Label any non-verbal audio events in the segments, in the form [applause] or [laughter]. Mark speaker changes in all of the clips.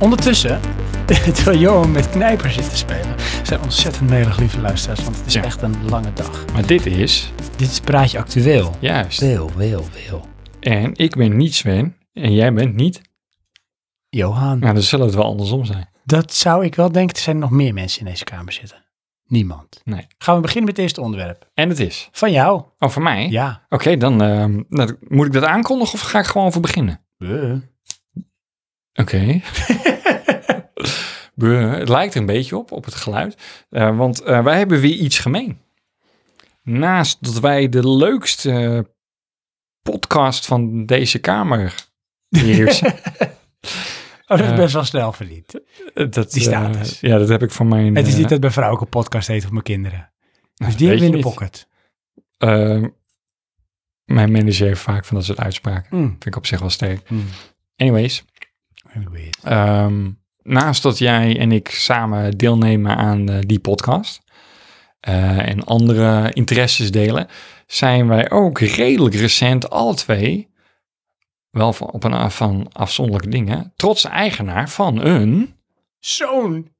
Speaker 1: Ondertussen, [laughs] terwijl Johan met knijpers zit te spelen, zijn ontzettend nederig lieve luisteraars, want het is
Speaker 2: Ja.
Speaker 1: echt een lange dag.
Speaker 2: Maar dit is
Speaker 1: Dit is Praatje Actueel.
Speaker 2: juist.
Speaker 1: Wil, wil, wil.
Speaker 2: En ik ben niet Sven en jij bent niet.
Speaker 1: Johan.
Speaker 2: Nou, dan zal het wel andersom zijn.
Speaker 1: Dat zou ik wel denken. Er zijn nog meer mensen in deze kamer zitten. Niemand.
Speaker 2: Nee.
Speaker 1: Gaan we beginnen met het eerste onderwerp.
Speaker 2: En het is.
Speaker 1: Van jou.
Speaker 2: Oh, voor mij?
Speaker 1: Ja.
Speaker 2: Oké, dan ehm, nou, moet ik dat aankondigen of ga ik gewoon voor beginnen? Oké.
Speaker 1: [laughs]
Speaker 2: Buh, het lijkt er een beetje op, op het geluid. Eh, want eh, wij hebben weer iets gemeen. Naast dat wij de leukste podcast van deze
Speaker 1: [laughs]
Speaker 2: kamer beheersen.
Speaker 1: Oh, dat is
Speaker 2: Ja.
Speaker 1: best wel snel verdiend.
Speaker 2: eh, dat,
Speaker 1: Die status.
Speaker 2: eh, ja, dat heb ik van mijn...
Speaker 1: Het is
Speaker 2: eh,
Speaker 1: niet dat mijn vrouw ook een podcast heeft op mijn kinderen.
Speaker 2: nou,
Speaker 1: Dus die hebben we
Speaker 2: weet
Speaker 1: in
Speaker 2: je
Speaker 1: de
Speaker 2: niet.
Speaker 1: pocket.
Speaker 2: Ehm, mijn manager heeft vaak van dat soort uitspraken.
Speaker 1: Mm.
Speaker 2: Vind ik op zich wel sterk. Anyways,
Speaker 1: hmm. Weird.
Speaker 2: ehm, naast dat jij en ik samen deelnemen aan eh, die podcast eh, en andere interesses delen, zijn wij ook redelijk recent alle twee, wel van, op een af- van afzonderlijke dingen, trots eigenaar van een. [laughs]
Speaker 1: Zo'n.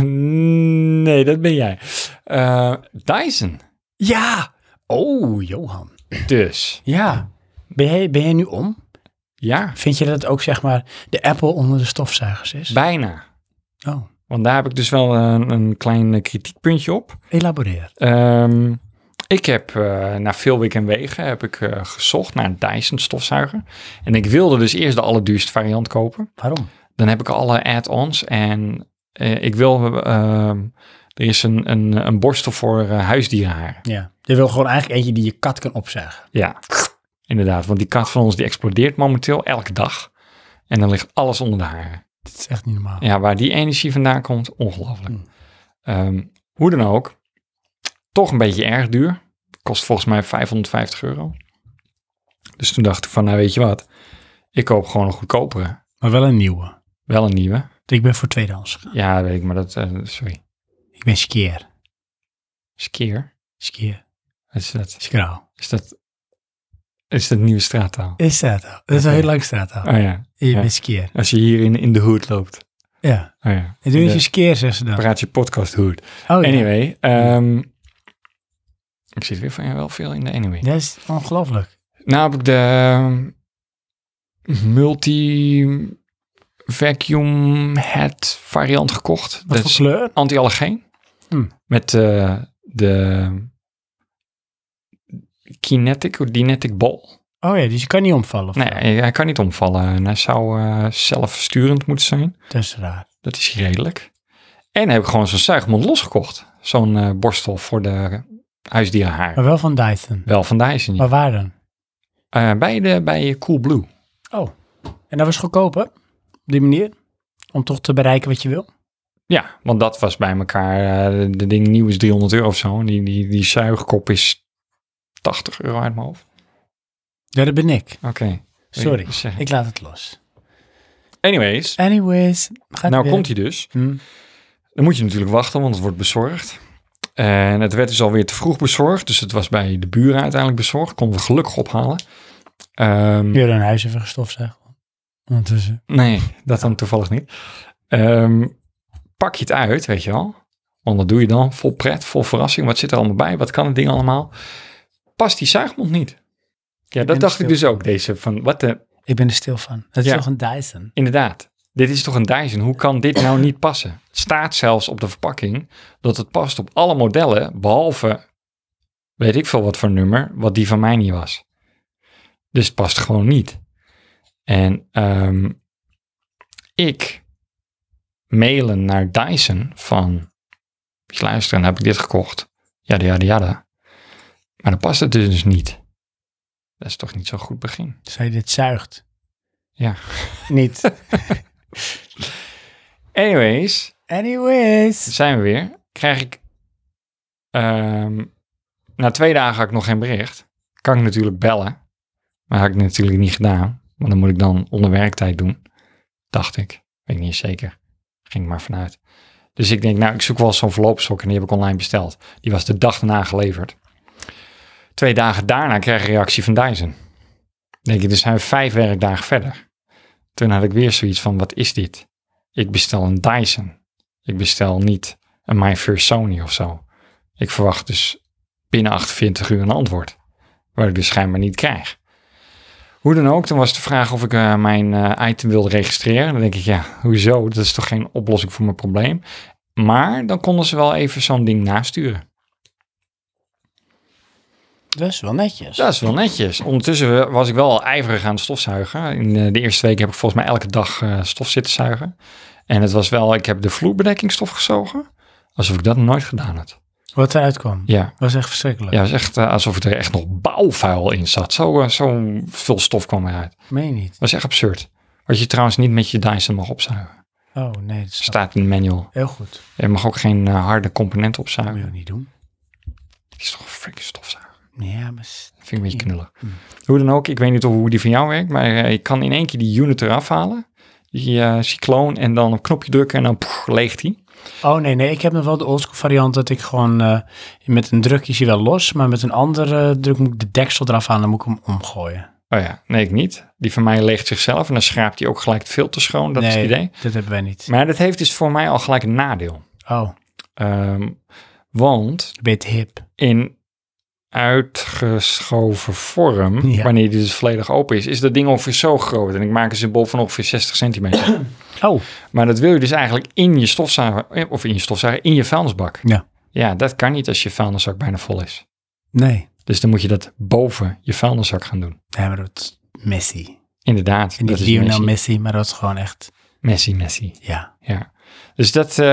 Speaker 2: nee, dat ben jij. Eh, Dyson.
Speaker 1: Ja. Oh, Johan.
Speaker 2: Dus
Speaker 1: Ja. Ben jij, ben jij nu om?
Speaker 2: ja,
Speaker 1: Vind je dat het ook zeg maar de Apple onder de stofzuigers is?
Speaker 2: bijna.
Speaker 1: Oh,
Speaker 2: Want daar heb ik dus wel een, een klein eh, kritiekpuntje op.
Speaker 1: elaboreer.
Speaker 2: Ehm, ik heb eh, na veel weken en wegen heb ik, eh, gezocht naar een Dyson stofzuiger. En ik wilde dus eerst de allerduurste variant kopen.
Speaker 1: Waarom?
Speaker 2: Dan heb ik alle add-ons en eh, ik wil... ehm, er is een, een, een borstel voor eh, huisdierenharen.
Speaker 1: Ja. Je wil gewoon eigenlijk eentje die je kat kan opzuigen.
Speaker 2: Ja, inderdaad. Want die kat van ons die explodeert momenteel elke dag. En dan ligt alles onder de haren.
Speaker 1: Dat is echt niet normaal.
Speaker 2: Ja, waar die energie vandaan komt, ongelooflijk.
Speaker 1: Hmm.
Speaker 2: Ehm, hoe dan ook, toch een beetje erg duur. Kost volgens mij 550 euro. Dus toen dacht ik van, nou weet je wat, ik koop gewoon een goedkopere.
Speaker 1: Maar wel een nieuwe.
Speaker 2: Wel een nieuwe.
Speaker 1: Ik ben voor tweedehands gegaan.
Speaker 2: Ja, dat weet ik, maar dat, eh, sorry.
Speaker 1: Ik ben skeer.
Speaker 2: Skeer.
Speaker 1: Skeer.
Speaker 2: Is dat,
Speaker 1: Skraal.
Speaker 2: is dat, is dat nieuwe straattaal?
Speaker 1: Is dat al? Dat is al heel lang staat al.
Speaker 2: Oh ja,
Speaker 1: Je
Speaker 2: ja.
Speaker 1: bent skeer.
Speaker 2: als je hier in, in de hoed loopt.
Speaker 1: Ja.
Speaker 2: Oh ja.
Speaker 1: En doe
Speaker 2: In
Speaker 1: eens
Speaker 2: de
Speaker 1: je skeer, zeggen ze dan.
Speaker 2: Praat je podcast hoed.
Speaker 1: Oh, ja.
Speaker 2: Anyway, ehm, ik zit weer van ja, wel veel in de anyway.
Speaker 1: Dat is ongelooflijk.
Speaker 2: Nou heb ik de eh, multi vacuum head variant gekocht.
Speaker 1: Wat
Speaker 2: Dat
Speaker 1: voor
Speaker 2: is
Speaker 1: kleur?
Speaker 2: anti-allergeen.
Speaker 1: Hmm.
Speaker 2: Met eh, de kinetic of dynetic ball.
Speaker 1: Oh ja, dus je kan niet omvallen. Of
Speaker 2: Nee,
Speaker 1: zo.
Speaker 2: hij- hij kan niet omvallen. En hij zou eh, zelfsturend moeten zijn.
Speaker 1: Dat is raar.
Speaker 2: Dat is redelijk. En heb ik gewoon zo'n zuigmond losgekocht. Zo'n eh, borstel voor de huisdierenhaar.
Speaker 1: Maar wel van Dyson.
Speaker 2: Wel van Dyson. ja.
Speaker 1: Maar waar dan?
Speaker 2: Eh, bij, de, bij Coolblue.
Speaker 1: En dat was goedkoper, op die manier, om toch te bereiken wat je wil.
Speaker 2: Ja, want dat was bij elkaar. eh, de- de ding nieuw is 300 euro of zo. En die, die, die zuigkop is 80 euro uit mijn hoofd.
Speaker 1: Ja, dat ben ik.
Speaker 2: Oké.
Speaker 1: Sorry,
Speaker 2: Wil je zeggen?
Speaker 1: ik laat het los.
Speaker 2: Anyways,
Speaker 1: Anyways, gaat Hmm?
Speaker 2: nou komt hij dus.
Speaker 1: hij.
Speaker 2: Dan moet je natuurlijk wachten, want het wordt bezorgd. En het werd dus alweer te vroeg bezorgd. Dus het was bij de buren uiteindelijk bezorgd. Konden we gelukkig ophalen. Ehm,
Speaker 1: Weer een huis even gestofzuigd. Ondertussen.
Speaker 2: Nee, dat dan toevallig niet. Ehm, pak je het uit, weet je wel. Want dat doe je dan vol pret, vol verrassing. Wat zit er allemaal bij? Wat kan het ding allemaal? Past die zuigmond niet? Ja,
Speaker 1: ben
Speaker 2: dat dacht
Speaker 1: stil.
Speaker 2: ik dus ook. Deze van, wat de,
Speaker 1: Ik ben er stil van. Dat is
Speaker 2: Ja.
Speaker 1: toch een Dyson?
Speaker 2: inderdaad. Dit is toch een Dyson? Hoe kan dit nou niet passen? Het staat zelfs op de verpakking dat het past op alle modellen, behalve weet ik veel wat voor nummer, wat die van mij niet was. Dus het past gewoon niet. En ehm, ik mailen naar Dyson van, eens luisteren, nou heb ik dit gekocht. Jada, jada, jada. Maar dan past het dus niet. Dat is toch niet zo'n goed begin.
Speaker 1: Zij Dus dit zuigt.
Speaker 2: Ja. [laughs]
Speaker 1: Niet.
Speaker 2: Anyways,
Speaker 1: Anyways.
Speaker 2: zijn we weer. Krijg ik. ehm, na twee dagen had ik nog geen bericht. Kan ik natuurlijk bellen. Maar had ik natuurlijk niet gedaan. Want dan moet ik dan onder werktijd doen. Dacht ik. Weet ik niet zeker. Ging ik maar vanuit. Dus ik denk, nou, ik zoek wel zo'n verloopsok. En die heb ik online besteld. Die was de dag daarna geleverd. Twee dagen daarna kreeg ik een reactie van Dyson. Denk ik, dus zijn we vijf werkdagen verder. Toen had ik weer zoiets van, wat is dit? Ik bestel een Dyson. Ik bestel niet een My First Sony of zo. Ik verwacht dus binnen 48 uur een antwoord. Waar ik dus schijnbaar niet krijg. Hoe dan ook, toen was de vraag of ik eh, mijn eh, item wilde registreren. Dan denk ik, ja, hoezo? Dat is toch geen oplossing voor mijn probleem? Maar dan konden ze wel even zo'n ding nasturen.
Speaker 3: Dat is wel netjes.
Speaker 2: Dus Dat is wel netjes. Ondertussen eh, was ik wel al ijverig aan het stofzuigen. In eh, de eerste week heb ik volgens mij elke dag eh, stof zitten zuigen. En het was wel, ik heb de vloerbedekking stof gezogen. Alsof ik dat nooit gedaan had.
Speaker 1: Wat eruit kwam.
Speaker 2: Ja,
Speaker 1: was echt verschrikkelijk.
Speaker 2: ja het was echt eh, alsof er echt nog bouwvuil in zat. Zo, eh, zo veel stof kwam eruit.
Speaker 1: Meen je niet.
Speaker 2: Dat is echt absurd. Wat je trouwens niet met je Dyson mag opzuigen.
Speaker 1: Oh nee, dat staat
Speaker 2: Staat in de manual.
Speaker 1: heel goed.
Speaker 2: Je mag ook geen eh, harde componenten
Speaker 1: Dat moet
Speaker 2: opzuigen.
Speaker 1: je ook niet doen.
Speaker 2: Het is toch een freaking stofzuiger.
Speaker 1: Ja, maar... s-
Speaker 2: Vind ik een beetje knullig. Hoe dan ook, ik weet niet of hoe die van jou werkt, maar eh, je kan in één keer die unit eraf halen. Die eh, cycloon en dan op knopje drukken en dan poef, leegt die.
Speaker 1: Oh nee, nee, ik heb nog wel de oldschool variant dat ik gewoon eh, met een druk is hij wel los, maar met een andere druk moet ik de deksel eraf halen en moet ik hem omgooien.
Speaker 2: Oh ja, nee, ik niet. Die van mij leegt zichzelf en dan schraapt hij ook gelijk het filter schoon. Dat is
Speaker 1: Nee,
Speaker 2: het idee.
Speaker 1: Dat hebben wij niet.
Speaker 2: Maar dat heeft dus voor mij al gelijk een nadeel.
Speaker 1: Oh,
Speaker 2: Ehm, want
Speaker 1: een beetje hip.
Speaker 2: in uitgeschoven vorm,
Speaker 1: Ja.
Speaker 2: wanneer die dus volledig open is, is dat ding ongeveer zo groot. En ik maak een symbool van ongeveer 60 centimeter.
Speaker 1: [clears throat] Oh,
Speaker 2: Maar dat wil je dus eigenlijk in je stofzuiger, of in je stofzuiger, in je vuilnisbak.
Speaker 1: Ja.
Speaker 2: Ja, dat kan niet als je vuilniszak bijna vol is.
Speaker 1: nee.
Speaker 2: Dus dan moet je dat boven je vuilniszak gaan doen.
Speaker 1: Nee, maar dat is Messi.
Speaker 2: Inderdaad,
Speaker 1: En
Speaker 2: dat
Speaker 1: niet
Speaker 2: is
Speaker 1: Lionel
Speaker 2: Messi.
Speaker 1: Messi, maar dat is gewoon echt,
Speaker 2: Messi, Messi,
Speaker 1: ja.
Speaker 2: ja. Dus dat, eh,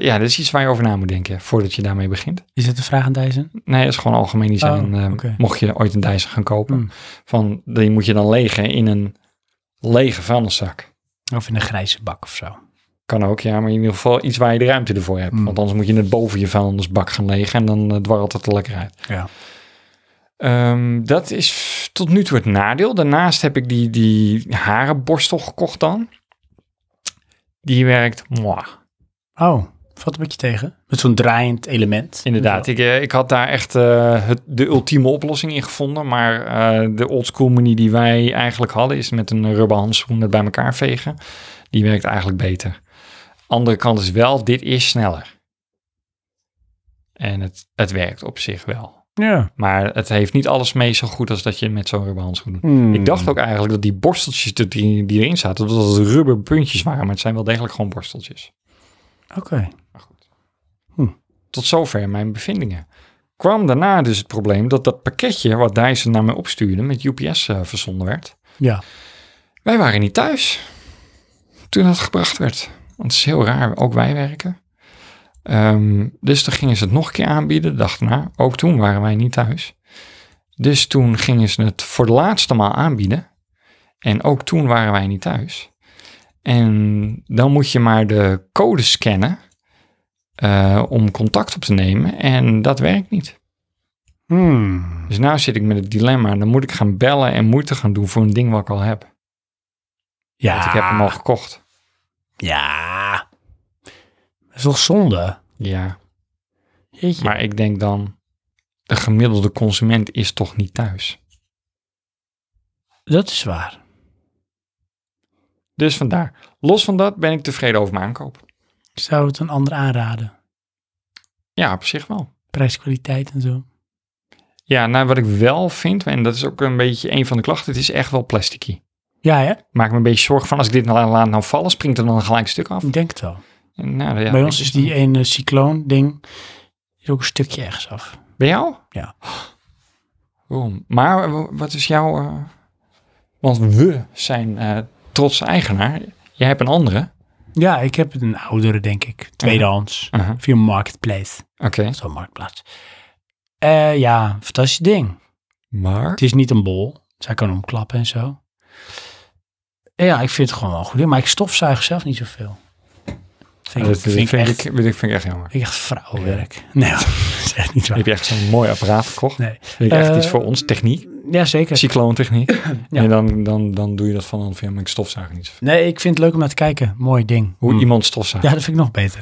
Speaker 2: ja, dat is iets waar je over na moet denken voordat je daarmee begint.
Speaker 1: Is het een vraag aan Dyson?
Speaker 2: Nee, dat is gewoon algemeen design.
Speaker 1: Oh,
Speaker 2: eh,
Speaker 1: oké.
Speaker 2: Mocht je ooit een Dyson gaan kopen,
Speaker 1: Hmm.
Speaker 2: van, die moet je dan legen in een lege vuilniszak.
Speaker 1: Of in een grijze bak of zo.
Speaker 2: Kan ook, ja, maar in ieder geval iets waar je de ruimte ervoor hebt.
Speaker 1: Mm.
Speaker 2: Want anders moet je het boven je vuilnisbak gaan legen en dan eh, dwarrelt het er lekker uit.
Speaker 1: Ja.
Speaker 2: Ehm, dat is f- tot nu toe het nadeel. Daarnaast heb ik die, die harenborstel gekocht dan. Die werkt, mwah.
Speaker 1: Oh, valt een beetje tegen. Met zo'n draaiend element.
Speaker 2: Inderdaad,
Speaker 1: Zo.
Speaker 2: ik, eh, ik had daar echt eh, het, de ultieme oplossing in gevonden. Maar eh, de oldschool manier die wij eigenlijk hadden... is met een rubber handschoen het bij elkaar vegen. Die werkt eigenlijk beter. Andere kant is wel, dit is sneller. En het, het werkt op zich wel.
Speaker 1: Ja.
Speaker 2: Maar het heeft niet alles mee zo goed als dat je met zo'n rubber handschoen doet.
Speaker 1: Hmm.
Speaker 2: Ik dacht ook eigenlijk dat die borsteltjes die- die, die erin zaten... dat het rubber puntjes waren, maar het zijn wel degelijk gewoon borsteltjes.
Speaker 1: Oké.
Speaker 2: Tot zover mijn bevindingen. Kwam daarna dus het probleem dat dat pakketje wat Dyson naar mij opstuurde met UPS eh, verzonden werd.
Speaker 1: Ja.
Speaker 2: Wij waren niet thuis toen dat gebracht werd. Want het is heel raar, ook wij werken. Ehm, dus toen gingen ze het nog een keer aanbieden, de dag daarna. Ook toen waren wij niet thuis. Dus toen gingen ze het voor de laatste maal aanbieden. En ook toen waren wij niet thuis. En dan moet je maar de code scannen eh, om contact op te nemen. En dat werkt niet.
Speaker 1: Hmm.
Speaker 2: Dus nu zit ik met het dilemma. Dan moet ik gaan bellen en moeite gaan doen voor een ding wat ik al heb.
Speaker 1: Ja.
Speaker 2: Want ik heb hem al gekocht.
Speaker 1: Ja. Dat is toch zonde?
Speaker 2: Ja,
Speaker 1: Jeetje.
Speaker 2: maar ik denk dan... De gemiddelde consument is toch niet thuis.
Speaker 1: Dat is waar.
Speaker 2: Dus vandaar. Los van dat ben ik tevreden over mijn aankoop.
Speaker 1: Zou het een ander aanraden?
Speaker 2: Ja, op zich wel.
Speaker 1: Prijskwaliteit en zo.
Speaker 2: Ja, nou wat ik wel vind, en dat is ook een beetje een van de klachten, het is echt wel plasticky.
Speaker 1: Ja, hè?
Speaker 2: Maak me een beetje zorgen van als ik dit nou laat nou vallen, springt er dan een gelijk stuk af.
Speaker 1: Ik denk het wel.
Speaker 2: En nou, ja,
Speaker 1: Bij
Speaker 2: ik-
Speaker 1: ons is die ene cycloon-ding is ook een stukje ergens af.
Speaker 2: Bij jou?
Speaker 1: Ja.
Speaker 2: Waarom? Maar w- wat is jouw... eh, want we zijn eh trots eigenaar. Jij hebt een andere.
Speaker 1: Ja, ik heb een oudere, denk ik. Tweedehands.
Speaker 2: Uh-huh.
Speaker 1: Via Marketplace.
Speaker 2: Oké.
Speaker 1: Zo'n marktplaats. Eh, ja, fantastisch ding.
Speaker 2: Maar?
Speaker 1: Het is niet een bol. Zij kan omklappen en zo. Eh, Ja, ik vind het gewoon wel goed. Maar ik stofzuig zelf niet zoveel. Vind,
Speaker 2: dat
Speaker 1: ik, vind, ik echt,
Speaker 2: ik, vind ik vind ik echt jammer.
Speaker 1: ik echt vrouwenwerk. Nee, [laughs] dat is echt niet waar.
Speaker 2: Heb je echt zo'n mooi apparaat gekocht?
Speaker 1: Nee.
Speaker 2: Vind ik echt
Speaker 1: Eh,
Speaker 2: iets voor ons, techniek,
Speaker 1: Ja, zeker.
Speaker 2: cycloontechniek.
Speaker 1: Ja.
Speaker 2: En dan, dan, dan doe je dat van een film, ik stofzuig niet. zoveel.
Speaker 1: Nee, ik vind het leuk om naar te kijken. Mooi ding.
Speaker 2: Hoe
Speaker 1: Hm.
Speaker 2: iemand stofzuigt.
Speaker 1: Ja, dat vind ik nog beter.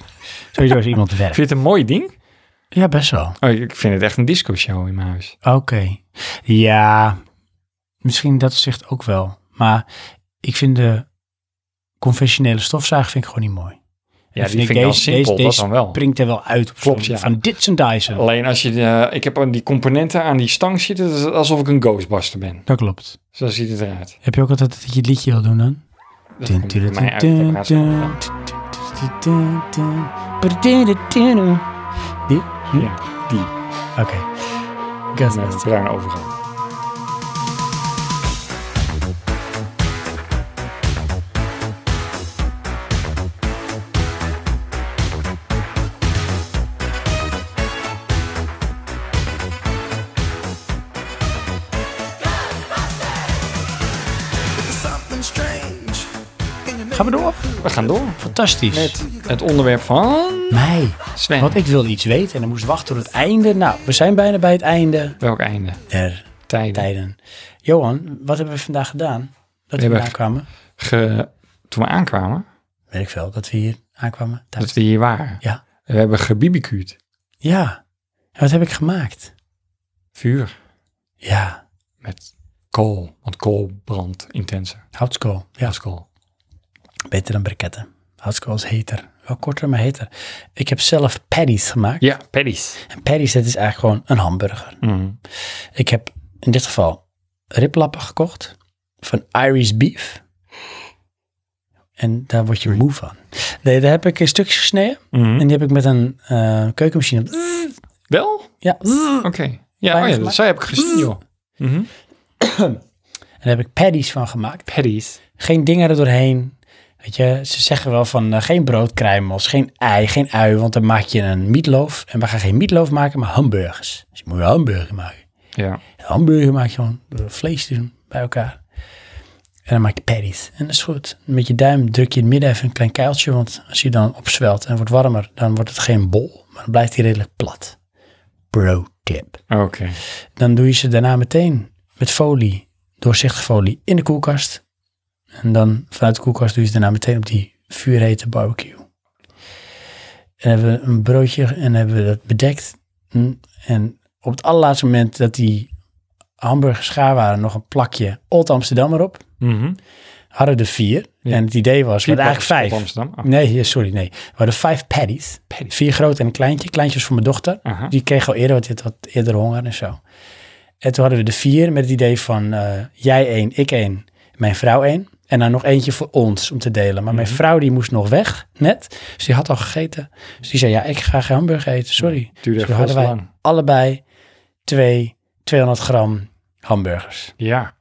Speaker 1: Sowieso is iemand werk.
Speaker 2: Vind je het een mooi ding?
Speaker 1: Ja, best wel.
Speaker 2: Oh, ik vind het echt een disco show in mijn huis.
Speaker 1: Oké. Ja, misschien in dat opzicht ook wel. Maar ik vind de conventionele stofzuiger vind ik gewoon niet mooi.
Speaker 2: Ja, die
Speaker 1: vind ik
Speaker 2: vind ik wel
Speaker 1: deze-
Speaker 2: simpel,
Speaker 1: deze-
Speaker 2: dat
Speaker 1: deze
Speaker 2: dan wel.
Speaker 1: Pringt er wel uit op
Speaker 2: Klopt,
Speaker 1: zo'n-
Speaker 2: ja. Oh.
Speaker 1: van dit is een Dyson.
Speaker 2: Alleen als je, de, ik heb aan die componenten aan die stang zitten, dat is alsof ik een Ghostbuster ben.
Speaker 1: Dat klopt.
Speaker 2: Zo ziet het eruit.
Speaker 1: Heb je ook altijd dat je het liedje wil doen dan?
Speaker 2: Dat
Speaker 1: Dun,
Speaker 2: komt bij
Speaker 1: dun,
Speaker 2: mij uit,
Speaker 1: dun,
Speaker 2: dat haast wel.
Speaker 1: dun, dun, dun, dun, dun, dun, dun. Die?
Speaker 2: Ja, die.
Speaker 1: Oké.
Speaker 2: Met
Speaker 1: Ghostbusters.
Speaker 2: een bruine overgang.
Speaker 1: Gaan we door?
Speaker 2: We gaan door
Speaker 1: Fantastisch.
Speaker 2: met het onderwerp van
Speaker 1: Mij.
Speaker 2: Sven.
Speaker 1: Want ik wilde iets weten en dan moest wachten tot het einde. Nou, we zijn bijna bij het einde
Speaker 2: Welk einde?
Speaker 1: der
Speaker 2: Tijden.
Speaker 1: tijden. Johan, wat hebben we vandaag gedaan? Dat we
Speaker 2: hebben-
Speaker 1: hier aankwamen?
Speaker 2: Ge- toen we aankwamen,
Speaker 1: Weet ik veel, dat we hier aankwamen. Daar-
Speaker 2: dat we hier waren.
Speaker 1: Ja.
Speaker 2: We hebben gebibikuut.
Speaker 1: Ja. En wat heb ik gemaakt?
Speaker 2: Vuur
Speaker 1: Ja,
Speaker 2: met kool. Want kool brandt intenser.
Speaker 1: houtskool. Ja,
Speaker 2: Als kool.
Speaker 1: beter dan briketten. Houtskool is heter. Wel korter, maar heter. Ik heb zelf patties gemaakt.
Speaker 2: Ja, paddies.
Speaker 1: En patties, dat is eigenlijk gewoon een hamburger.
Speaker 2: Mm.
Speaker 1: Ik heb in dit geval riblappen gekocht van Irish Beef. En daar word je moe van. Nee, daar heb ik in stukjes gesneden.
Speaker 2: Mhm.
Speaker 1: En die heb ik met een eh, keukenmachine.
Speaker 2: Wel?
Speaker 1: Ja.
Speaker 2: Oké. Ja,
Speaker 1: Bijna Mm. gemaakt. Mm.
Speaker 2: oh ja,
Speaker 1: Mm-hmm.
Speaker 2: dat zei heb ik gezien, joh. Mhm.
Speaker 1: En daar heb ik patties van gemaakt.
Speaker 2: Paddies.
Speaker 1: Geen dingen er doorheen. Weet je, ze zeggen wel van eh, geen broodkruimels, geen ei, geen ui, want dan maak je een meatloaf. En we gaan geen meatloaf maken, maar hamburgers. Dus je moet een hamburger maken.
Speaker 2: Ja.
Speaker 1: Een hamburger maak je gewoon door vlees te doen bij elkaar. En dan maak je patties. En dat is goed. Met je duim druk je in het midden even een klein kuiltje. Want als je dan opzwelt en wordt warmer, dan wordt het geen bol. Maar dan blijft hij redelijk plat. Pro tip.
Speaker 2: Oké.
Speaker 1: Dan doe je ze daarna meteen met folie, doorzichtige folie, in de koelkast. En dan vanuit de koelkast doe je ze daarna meteen op die vuurhete barbecue. En hebben we een broodje en hebben we dat bedekt. Mm, En op het allerlaatste moment dat die hamburgers schaar waren, nog een plakje Old Amsterdam erop.
Speaker 2: Mhm.
Speaker 1: Hadden er vier.
Speaker 2: Ja.
Speaker 1: En het idee was, we Dus hadden eigenlijk vijf.
Speaker 2: Piepers op
Speaker 1: Mm.
Speaker 2: Amsterdam. Ah,
Speaker 1: Nee, ja, sorry, nee. We hadden vijf patties.
Speaker 2: Paddies.
Speaker 1: Vier groot en een kleintje. Kleintje was voor mijn dochter.
Speaker 2: Aha.
Speaker 1: Die kreeg al eerder, wat, die had wat eerder honger en zo. En toen hadden we de vier met het idee van eh, jij één, ik één, mijn vrouw één. En dan nog eentje voor ons om te delen. Maar mijn vrouw die moest nog weg, net. Dus die had al gegeten. Dus die zei, ja, ik ga geen hamburger eten, sorry.
Speaker 2: Duurde
Speaker 1: dus
Speaker 2: echt veel
Speaker 1: hadden
Speaker 2: te
Speaker 1: wij
Speaker 2: lang.
Speaker 1: allebei twee 200 gram hamburgers.
Speaker 2: Ja.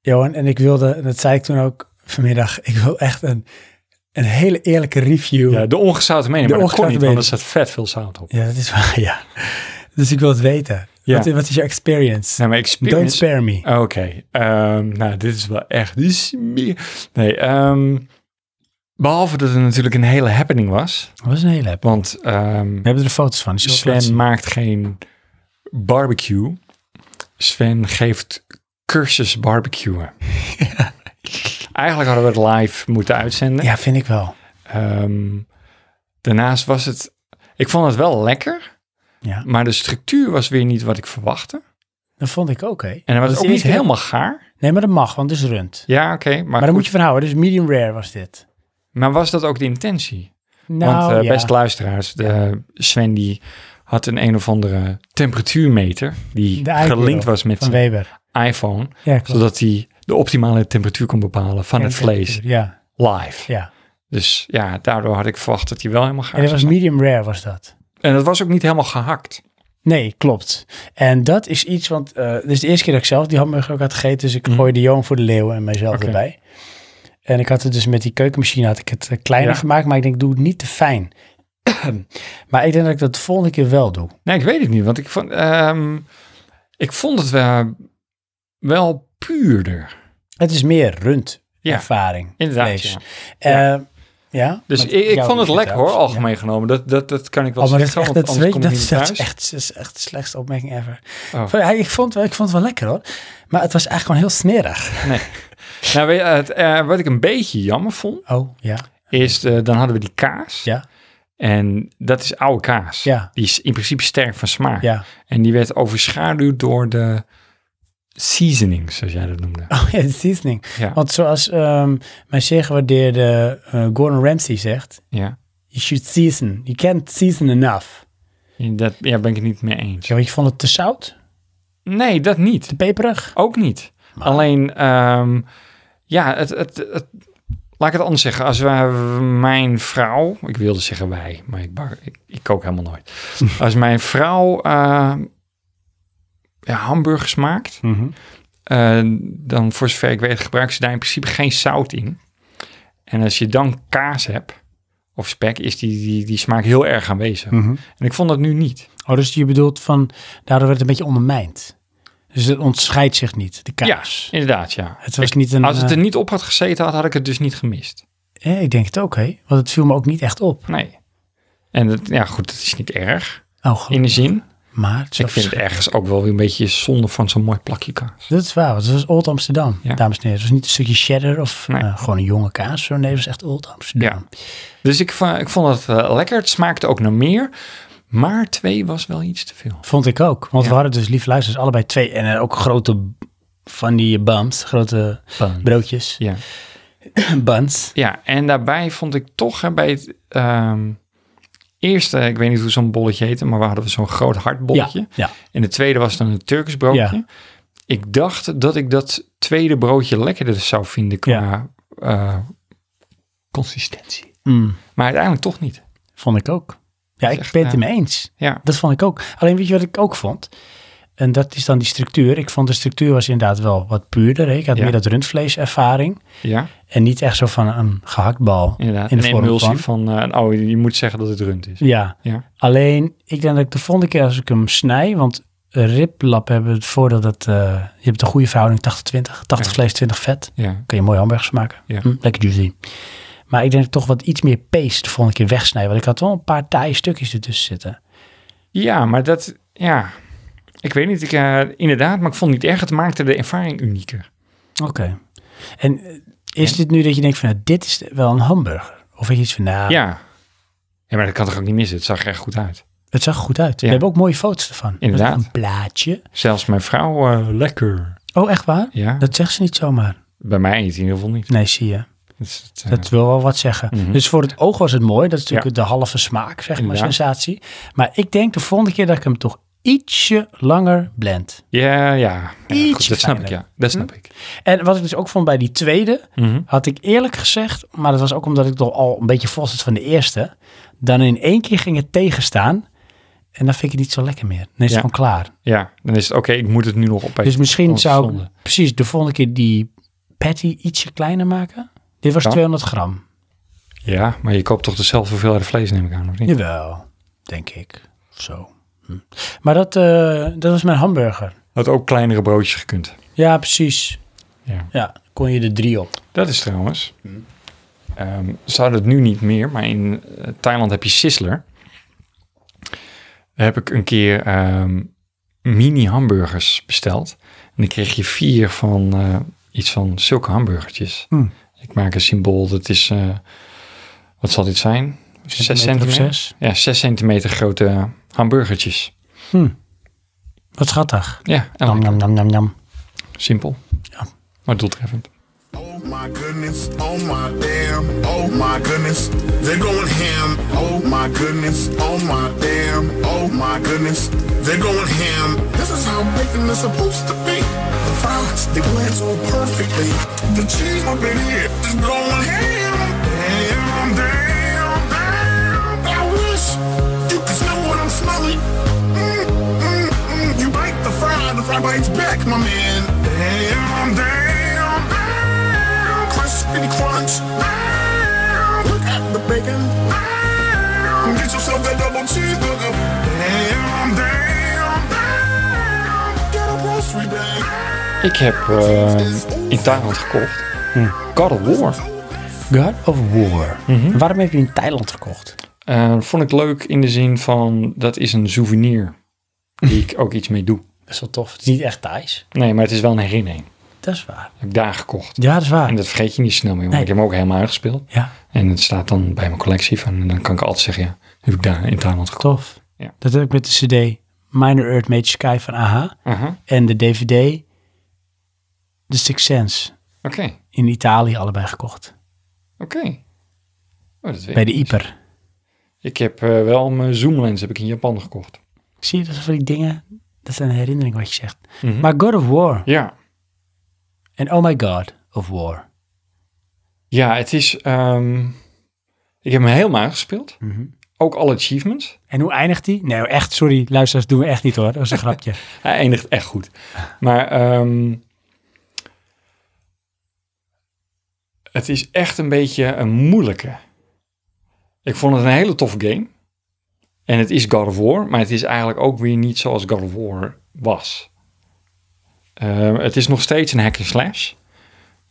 Speaker 1: Johan, en ik wilde, en dat zei ik toen ook vanmiddag, ik wil echt een, een hele eerlijke review.
Speaker 2: ja. De ongezouten mening,
Speaker 1: De
Speaker 2: maar dat kon niet,
Speaker 1: ongezouten
Speaker 2: want er zat vet veel zout op.
Speaker 1: Ja, dat is waar, [laughs] ja. Dus ik wil het weten.
Speaker 2: Ja.
Speaker 1: Wat, wat is je experience?
Speaker 2: Nou, maar
Speaker 1: Don't
Speaker 2: experience...
Speaker 1: spare me.
Speaker 2: Oké. ehm, nou, dit is wel echt... Dit is meer... Nee, ehm, behalve dat het natuurlijk een hele happening was.
Speaker 1: Dat was een hele app.
Speaker 2: Want ehm,
Speaker 1: We hebben er foto's van. Dus
Speaker 2: Sven maakt geen barbecue. Sven geeft cursus
Speaker 1: [laughs]
Speaker 2: barbecuen. Eigenlijk hadden we het live moeten uitzenden.
Speaker 1: Ja, vind ik wel.
Speaker 2: Ehm, daarnaast was het... Ik vond het wel lekker,
Speaker 1: Ja.
Speaker 2: maar de structuur was weer niet wat ik verwachtte.
Speaker 1: Dat vond ik ook, hè.
Speaker 2: En dat was
Speaker 1: Dat
Speaker 2: ook
Speaker 1: is
Speaker 2: niet
Speaker 1: heel-
Speaker 2: helemaal gaar.
Speaker 1: Nee, maar dat mag, want het is rund.
Speaker 2: Ja, oké. maar,
Speaker 1: maar daar
Speaker 2: goed.
Speaker 1: moet je van houden. Dus medium rare was dit.
Speaker 2: maar was dat ook de intentie?
Speaker 1: Nou,
Speaker 2: Want eh,
Speaker 1: ja.
Speaker 2: best luisteraars, de, Sven die had een een of andere temperatuurmeter... die
Speaker 1: De iPhone
Speaker 2: gelinkt was met
Speaker 1: Van
Speaker 2: zijn
Speaker 1: Weber.
Speaker 2: iPhone...
Speaker 1: Ja, klopt.
Speaker 2: zodat hij de optimale temperatuur kon bepalen van het vlees
Speaker 1: Ja,
Speaker 2: live.
Speaker 1: ja.
Speaker 2: Dus ja, daardoor had ik verwacht dat hij wel helemaal
Speaker 1: En
Speaker 2: gaar
Speaker 1: dat
Speaker 2: zou
Speaker 1: was
Speaker 2: zijn.
Speaker 1: medium rare, was dat.
Speaker 2: En dat was ook niet helemaal gehakt.
Speaker 1: Nee, klopt. En dat is iets, want eh dit is de eerste keer dat ik zelf die hamburger ook had gegeten. Dus ik gooide Johan voor de leeuwen en mijzelf
Speaker 2: Mhm. Oké.
Speaker 1: erbij. En ik had het dus met die keukenmachine had ik het eh, kleiner
Speaker 2: Ja.
Speaker 1: gemaakt. Maar ik denk, doe het niet te fijn. [clears throat] maar ik denk dat ik dat de volgende keer wel doe.
Speaker 2: Nee, ik weet het niet, want ik vond, ehm, ik vond het wel, wel puurder.
Speaker 1: Het is meer rund
Speaker 2: Ja,
Speaker 1: ervaring.
Speaker 2: Inderdaad.
Speaker 1: vlees.
Speaker 2: ja.
Speaker 1: Eh,
Speaker 2: Ja.
Speaker 1: ja.
Speaker 2: Dus
Speaker 1: Met
Speaker 2: ik, ik
Speaker 1: jou
Speaker 2: vond het
Speaker 1: dus
Speaker 2: lekker hoor,
Speaker 1: trouwens.
Speaker 2: algemeen genomen. Dat, dat, dat kan ik wel
Speaker 1: Oh, maar dat is
Speaker 2: zeggen,
Speaker 1: echt,
Speaker 2: want
Speaker 1: dat, is-
Speaker 2: anders
Speaker 1: weet je,
Speaker 2: kom
Speaker 1: dat,
Speaker 2: ik
Speaker 1: is,
Speaker 2: niet
Speaker 1: dat is echt,
Speaker 2: thuis.
Speaker 1: dat is echt de slechtste opmerking ever.
Speaker 2: Oh.
Speaker 1: Ja, ik, vond, ik vond het wel lekker hoor. Maar het was eigenlijk gewoon heel smerig.
Speaker 2: Nou, weet je, het, eh, wat ik een beetje jammer vond,
Speaker 1: Oh, ja.
Speaker 2: is eh, dan hadden we die kaas.
Speaker 1: Ja.
Speaker 2: En dat is oude kaas.
Speaker 1: Ja.
Speaker 2: Die is in principe sterk van smaak.
Speaker 1: Ja.
Speaker 2: En die werd overschaduwd door de seasonings, zoals jij dat noemde.
Speaker 1: [laughs] Oh ja, de seasoning.
Speaker 2: Ja.
Speaker 1: Want zoals ehm, mijn zeer gewaardeerde eh, Gordon Ramsay zegt,
Speaker 2: Ja.
Speaker 1: you should season. You can't season enough.
Speaker 2: Dat, ja, ben ik het niet mee eens.
Speaker 1: Ja, want je vond het te zout,
Speaker 2: Nee, dat niet.
Speaker 1: te peperig.
Speaker 2: Ook niet. Alleen, ehm, ja, het, het, het- laat ik het anders zeggen. Als wij, mijn vrouw, ik wilde zeggen wij, maar ik, bak- ik, ik kook helemaal nooit. [laughs] Als mijn vrouw ehm, ja, hamburgers maakt,
Speaker 1: Mhm.
Speaker 2: eh, dan voor zover ik weet gebruikt ze daar in principe geen zout in. En als je dan kaas hebt, of spek, is die, die, die smaak heel erg aanwezig. En ik vond dat nu niet.
Speaker 1: Oh, dus je bedoelt van, daardoor werd het een beetje ondermijnd. Dus het ontscheidt zich niet, de kaas.
Speaker 2: Ja, inderdaad, ja.
Speaker 1: Het was niet een...
Speaker 2: Als het
Speaker 1: eh,
Speaker 2: er niet op had gezeten, had, had ik het dus niet gemist.
Speaker 1: eh, ik denk het ook, hè. Want het viel me ook niet echt op.
Speaker 2: Nee. En dat, ja, goed, dat is niet erg
Speaker 1: Oh, goed.
Speaker 2: in de zin.
Speaker 1: Maar het is
Speaker 2: Ik
Speaker 1: wel
Speaker 2: vind het ergens ook wel weer een beetje zonde van zo'n mooi plakje kaas.
Speaker 1: Dat is waar, want het was Old Amsterdam,
Speaker 2: Ja.
Speaker 1: dames en heren. Het was niet een stukje cheddar of
Speaker 2: Nee.
Speaker 1: eh, gewoon een jonge kaas. Zo. Nee, het was echt Old Amsterdam.
Speaker 2: Dus ik, va- ik vond het eh, lekker. Het smaakte ook naar meer. Maar twee was wel iets te veel.
Speaker 1: Vond ik ook. Want
Speaker 2: Ja.
Speaker 1: we hadden dus lief luisteraars allebei twee. En eh, ook grote van die bums, grote broodjes.
Speaker 2: Ja.
Speaker 1: [clears throat] Buns.
Speaker 2: ja, en daarbij vond ik toch hè, bij het ehm, eerste, ik weet niet hoe zo'n bolletje heette, maar we hadden we zo'n groot hartbolletje.
Speaker 1: Ja, ja.
Speaker 2: En de tweede was dan een Turkisch broodje. Ik dacht dat ik dat tweede broodje lekkerder zou vinden qua eh, consistentie.
Speaker 1: Mm,
Speaker 2: Maar uiteindelijk toch niet.
Speaker 1: vond ik ook. Ja,
Speaker 2: is
Speaker 1: ik
Speaker 2: echt,
Speaker 1: ben het
Speaker 2: eh,
Speaker 1: ermee eens.
Speaker 2: Ja,
Speaker 1: Dat vond ik ook. Alleen weet je wat ik ook vond? En dat is dan die structuur. Ik vond de structuur was inderdaad wel wat puurder. hè. Ik had
Speaker 2: Ja.
Speaker 1: meer dat rundvleeservaring.
Speaker 2: ja
Speaker 1: En niet echt zo van een gehaktbal.
Speaker 2: inderdaad.
Speaker 1: In de
Speaker 2: een
Speaker 1: vorm
Speaker 2: emulsie
Speaker 1: van?
Speaker 2: van, eh, oh, je moet zeggen dat het rund is.
Speaker 1: Ja.
Speaker 2: Ja,
Speaker 1: Alleen, ik denk dat ik de volgende keer als ik hem snij, want riplap hebben het voordeel dat eh, je hebt een goede verhouding 80-20, 80
Speaker 2: Ja.
Speaker 1: vlees, 20 vet.
Speaker 2: ja.
Speaker 1: Kun je mooie hamburgers maken.
Speaker 2: Ja.
Speaker 1: Hm, lekker juicy. Maar ik denk dat ik toch wat iets meer paste de volgende keer wegsnijden, want ik had wel een paar taaie stukjes ertussen zitten.
Speaker 2: ja maar dat, ja. Ik weet niet, ik, eh, inderdaad, maar ik vond het niet erg. Het maakte de ervaring unieker.
Speaker 1: Oké. En eh, is dit nu dat je denkt van, nou, dit is wel een hamburger? Of weet je iets van, nou,
Speaker 2: Ja. ja, maar dat kan toch ook niet missen. Het zag er echt goed uit.
Speaker 1: het zag er goed uit.
Speaker 2: Ja.
Speaker 1: We hebben ook mooie foto's ervan.
Speaker 2: Inderdaad.
Speaker 1: Een plaatje.
Speaker 2: Zelfs mijn vrouw, eh, lekker.
Speaker 1: Oh, echt waar?
Speaker 2: Ja,
Speaker 1: Dat zegt ze niet zomaar.
Speaker 2: bij mij in ieder geval niet.
Speaker 1: Nee, zie je.
Speaker 2: Dus het, eh,
Speaker 1: Dat wil wel wat zeggen.
Speaker 2: Mhm.
Speaker 1: Dus voor het oog was het mooi. Dat is natuurlijk de halve smaak, zeg maar,
Speaker 2: Inderdaad.
Speaker 1: sensatie. Maar ik denk de volgende keer dat ik hem toch ietsje langer blend.
Speaker 2: ja, ja. ja
Speaker 1: Ietsje
Speaker 2: goed, dat snap ik,
Speaker 1: fijner.
Speaker 2: ja. Dat snap ik.
Speaker 1: En wat ik dus ook vond bij die tweede,
Speaker 2: Mhm.
Speaker 1: had ik eerlijk gezegd, maar dat was ook omdat ik toch al een beetje vol zat van de eerste, dan in één keer ging het tegenstaan. En dan vind ik het niet zo lekker meer. Dan is
Speaker 2: Ja.
Speaker 1: het gewoon klaar.
Speaker 2: Ja, dan is het oké, ik moet het nu nog opeten.
Speaker 1: Dus misschien
Speaker 2: Gewoon
Speaker 1: zou ik
Speaker 2: Oh, zonde.
Speaker 1: precies de volgende keer die patty ietsje kleiner maken. Dit was
Speaker 2: Ja.
Speaker 1: 200 gram.
Speaker 2: Ja, maar je koopt toch dezelfde hoeveelheid vlees, neem ik aan, of niet?
Speaker 1: Jawel, denk ik. Of zo. Hm. Maar dat, eh, dat was mijn hamburger.
Speaker 2: Had ook kleinere broodjes gekund.
Speaker 1: Ja, precies.
Speaker 2: Ja.
Speaker 1: Ja, kon je er drie op.
Speaker 2: Dat is trouwens. Ehm ze hadden het nu niet meer, maar in eh, Thailand heb je Sizzler. Daar heb ik een keer ehm, mini hamburgers besteld. En dan kreeg je vier van eh, iets van zulke hamburgertjes.
Speaker 1: Hmm.
Speaker 2: Ik maak een symbool, dat is, eh, wat zal dit zijn? Zes
Speaker 1: Centimeter of
Speaker 2: centimeter?
Speaker 1: zes.
Speaker 2: Ja, zes centimeter grote hamburgertjes.
Speaker 1: Wat schattig.
Speaker 2: Ja, en
Speaker 1: Nam, nam, nam, nam, nam.
Speaker 2: simpel.
Speaker 1: Hm. Ja.
Speaker 2: Maar doeltreffend.
Speaker 4: Oh my goodness, oh my damn, oh my goodness, they're going ham. Oh my goodness, oh my damn, oh my goodness, they're going ham. This is how bacon is supposed to be. The fries, they blend so perfectly. The cheese up in here is going ham. Damn, damn, damn. I wish you could smell what I'm smelling. Mm, mm, mm. You bite the fry, the fry bites back, my man. Damn, damn, damn. Crispy crunch. Damn. Look at the bacon. Damn. Get yourself that double cheeseburger. Damn, damn, damn. Get a grocery bag.
Speaker 2: Ik heb eh, in Thailand gekocht God of War.
Speaker 1: God of War.
Speaker 2: Mhm.
Speaker 1: Waarom heb je in Thailand gekocht?
Speaker 2: Eh, vond ik leuk in de zin van, dat is een souvenir die [laughs] ik ook iets mee doe.
Speaker 1: Dat is wel tof. Het is niet echt Thais.
Speaker 2: Nee, maar het is wel een herinnering.
Speaker 1: Dat is waar.
Speaker 2: Heb ik daar gekocht.
Speaker 1: Ja, dat is
Speaker 2: En
Speaker 1: waar.
Speaker 2: dat vergeet je niet snel meer, want
Speaker 1: Nee.
Speaker 2: ik heb hem ook helemaal uitgespeeld.
Speaker 1: Ja,
Speaker 2: En het staat dan bij mijn collectie van, en dan kan ik altijd zeggen, ja, heb ik daar in Thailand gekocht.
Speaker 1: tof.
Speaker 2: Ja.
Speaker 1: Dat heb ik met de cd Minor Earth Major Sky van AHA.
Speaker 2: Aha.
Speaker 1: En de dvd de Six Sense
Speaker 2: Oké,
Speaker 1: in Italië allebei gekocht.
Speaker 2: oké. Oh, dat weet
Speaker 1: Bij
Speaker 2: ik
Speaker 1: de
Speaker 2: niet.
Speaker 1: Iper.
Speaker 2: Ik heb eh, wel mijn zoomlens heb ik in Japan gekocht.
Speaker 1: Zie je, dat zijn van die dingen, dat zijn een herinnering wat je zegt.
Speaker 2: Mhm.
Speaker 1: Maar God of War
Speaker 2: Ja,
Speaker 1: en Oh My God of War.
Speaker 2: ja het is... ehm, ik heb hem helemaal uitgespeeld.
Speaker 1: Mhm.
Speaker 2: Ook alle achievements.
Speaker 1: En hoe eindigt die? Nee, echt, sorry, luisteraars, doen we echt niet hoor. Dat is een
Speaker 2: [laughs]
Speaker 1: grapje.
Speaker 2: Hij eindigt echt goed. Maar ehm, het is echt een beetje een moeilijke. Ik vond het een hele toffe game. En het is God of War, maar het is eigenlijk ook weer niet zoals God of War was. Ehm, het is nog steeds een hack and slash.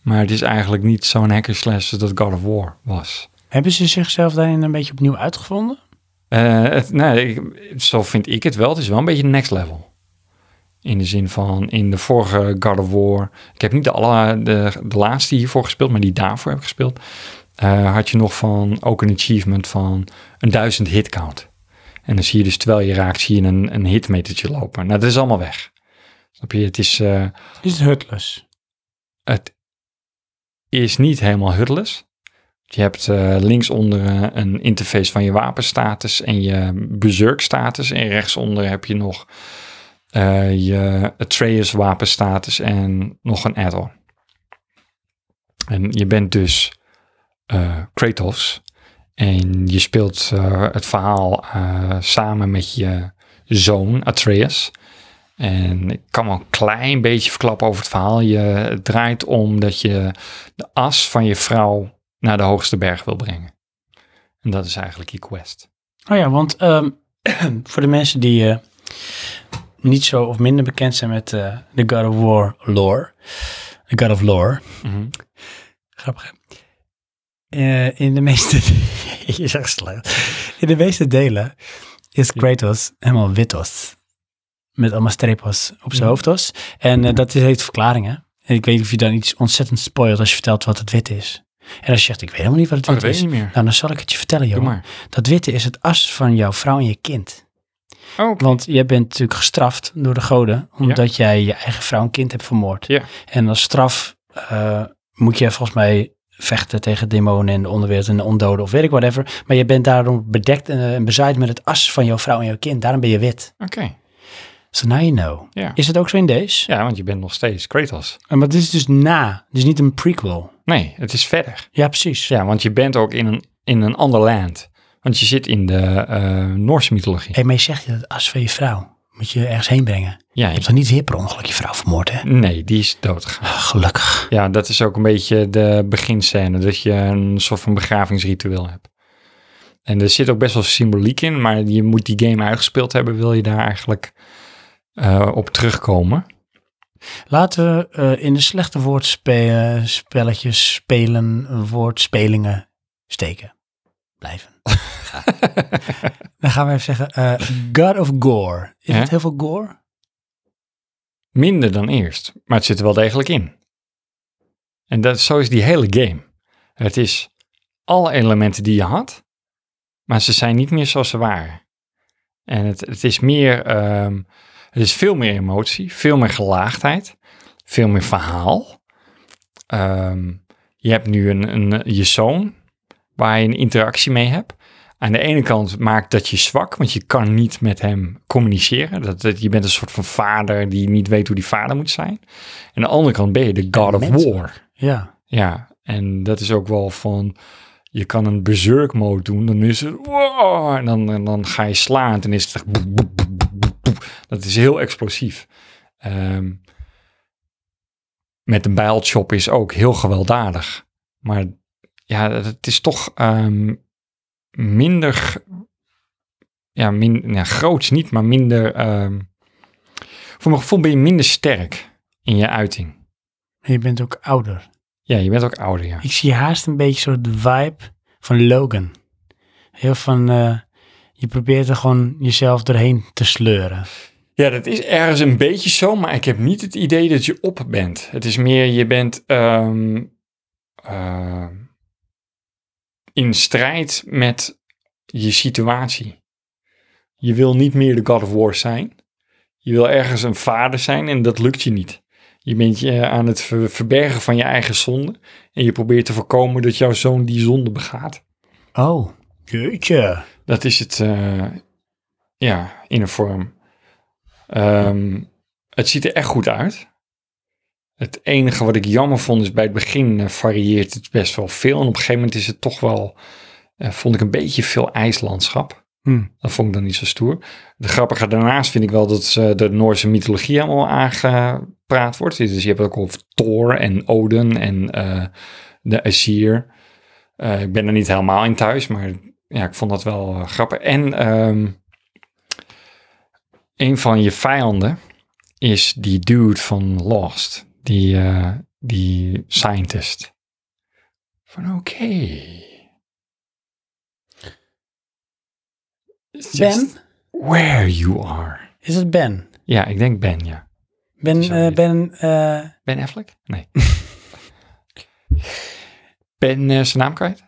Speaker 2: Maar het is eigenlijk niet zo'n hack and slash als dat God of War was.
Speaker 1: Hebben ze zichzelf daarin een beetje opnieuw uitgevonden?
Speaker 2: Eh, het, nee, ik- zo vind ik het wel. Het is wel een beetje next level. In de zin van, in de vorige God of War... Ik heb niet de, alle, de, de laatste hiervoor gespeeld, maar die daarvoor heb ik gespeeld. eh, had je nog van, ook een achievement van een duizend hit count. En dan zie je dus, terwijl je raakt, zie je een, een hitmetertje lopen. Nou, dat is allemaal weg. Snap je? Het is... eh,
Speaker 1: Is het Hutless?
Speaker 2: het is niet helemaal huddles. Je hebt eh, linksonder eh, een interface van je wapenstatus en je berserkstatus. En rechtsonder heb je nog eh, je Atreus wapenstatus en nog een add-on. En je bent dus eh, Kratos. En je speelt eh, het verhaal eh, samen met je zoon Atreus. En ik kan wel een klein beetje verklappen over het verhaal. Je, het draait om dat je de as van je vrouw naar de hoogste berg wil brengen. En dat is eigenlijk je quest.
Speaker 1: Oh ja, want ehm, [clears throat] voor de mensen die eh, niet zo of minder bekend zijn met eh, de God of War lore. De God of Lore.
Speaker 2: Mhm.
Speaker 1: Grappig hè? Eh, in de meeste... [laughs] je zegt slecht. In de meeste delen is Kratos helemaal witos. Met allemaal streepos op zijn
Speaker 2: Ja.
Speaker 1: hoofdos. En eh, dat is, heet verklaringen. En ik weet niet of je dan iets ontzettend spoilt als je vertelt wat het wit is. En als je zegt, ik weet helemaal niet wat het
Speaker 2: Oh, dat
Speaker 1: wit
Speaker 2: weet
Speaker 1: is.
Speaker 2: ik niet meer.
Speaker 1: Nou, dan zal ik het je vertellen,
Speaker 2: Doe
Speaker 1: joh.
Speaker 2: maar.
Speaker 1: Dat witte is het as van jouw vrouw en je kind.
Speaker 2: Oh, oké.
Speaker 1: Want jij bent natuurlijk gestraft door de goden, omdat jij je eigen vrouw en kind hebt vermoord.
Speaker 2: Ja.
Speaker 1: En als straf eh, moet je volgens mij vechten tegen demonen en de onderwereld en de ondoden of weet ik whatever. Maar je bent daarom bedekt en, eh, en bezaaid met het as van jouw vrouw en jouw kind. Daarom ben je wit.
Speaker 2: Oké.
Speaker 1: So now you know.
Speaker 2: Ja.
Speaker 1: Is het ook zo in deze?
Speaker 2: ja, want je bent nog steeds Kratos.
Speaker 1: Eh, Maar dit is dus na, dus niet een prequel.
Speaker 2: Nee, het is verder.
Speaker 1: Ja, precies.
Speaker 2: Ja, want je bent ook in een, in een ander land. Want je zit in de eh, Noorse mythologie.
Speaker 1: Hé, maar je zegt je dat het as van je vrouw moet je ergens heen brengen.
Speaker 2: Ja,
Speaker 1: Je hebt
Speaker 2: je-
Speaker 1: toch niet weer per ongeluk je vrouw vermoord, hè?
Speaker 2: nee, die is doodgegaan.
Speaker 1: Ah, Gelukkig.
Speaker 2: Ja, dat is ook een beetje de beginscène. Dat je een soort van begravingsritueel hebt. En er zit ook best wel symboliek in, maar je moet die game uitgespeeld hebben, wil je daar eigenlijk eh, op terugkomen.
Speaker 1: Laten we eh, in de slechte woordspelletjes, spelen, woordspelingen steken. Blijven. Ga. Dan gaan we even zeggen, eh, God of Gore. Is
Speaker 2: Ja.
Speaker 1: het heel veel gore?
Speaker 2: Minder dan eerst, maar het zit er wel degelijk in. En dat, zo is die hele game. Het is alle elementen die je had, maar ze zijn niet meer zoals ze waren. En het, het is meer, ehm, het is veel meer emotie, veel meer gelaagdheid, veel meer verhaal. Ehm, je hebt nu een, een, je zoon waar je een interactie mee hebt. Aan de ene kant maakt dat je zwak, want je kan niet met hem communiceren. Dat, dat, je bent een soort van vader die niet weet hoe die vader moet zijn. Aan de andere kant ben je de God of
Speaker 1: menselijk.
Speaker 2: War.
Speaker 1: Ja.
Speaker 2: Ja, en dat is ook wel van... Je kan een berserk mode doen, dan is het... Wow, en, dan, en dan ga je slaan en dan is het echt... boep, boep, boep, boep, boep, boep. Dat is heel explosief. Ehm, met een bijlchop is ook heel gewelddadig. Maar ja, dat- het is toch ehm, minder... g- Ja, min, ja, groots niet, maar minder... ehm, voor mijn gevoel ben je minder sterk in je uiting.
Speaker 1: En je bent ook ouder.
Speaker 2: Ja, je bent ook ouder, ja.
Speaker 1: Ik zie haast een beetje zo de vibe van Logan. Heel van, eh, je probeert er gewoon jezelf doorheen te sleuren.
Speaker 2: Ja, dat is ergens een beetje zo, maar ik heb niet het idee dat je op bent. Het is meer, je bent ehm, ehm, in strijd met je situatie. Je wil niet meer de God of War zijn. Je wil ergens een vader zijn en dat lukt je niet. Je bent je aan het ver- verbergen van je eigen zonde. En je probeert te voorkomen dat jouw zoon die zonde begaat.
Speaker 1: Oh, jeetje.
Speaker 2: Dat is het, eh, ja, in een vorm. Ehm, het ziet er echt goed uit. Het enige wat ik jammer vond is bij het begin eh, varieert het best wel veel. En op een gegeven moment is het toch wel, eh, vond ik een beetje veel ijslandschap.
Speaker 1: Hmm.
Speaker 2: Dat vond ik dan niet zo stoer. De grappige daarnaast vind ik wel dat ze de Noorse mythologie allemaal aangepraat wordt. Dus je hebt ook over Thor en Odin en eh, de Asir. Eh, ik ben er niet helemaal in thuis, maar ja, ik vond dat wel eh, grappig. En ehm, een van je vijanden is die dude van Lost, die, eh, die scientist. Van oké. It's
Speaker 1: Ben?
Speaker 2: just Where you are.
Speaker 1: Is het Ben?
Speaker 2: Ja, ik denk Ben, ja.
Speaker 1: Ben,
Speaker 2: Zo
Speaker 1: eh,
Speaker 2: heet
Speaker 1: ben eh,
Speaker 2: Ben Affleck? [laughs] Nee. ben eh, zijn naam kwijt?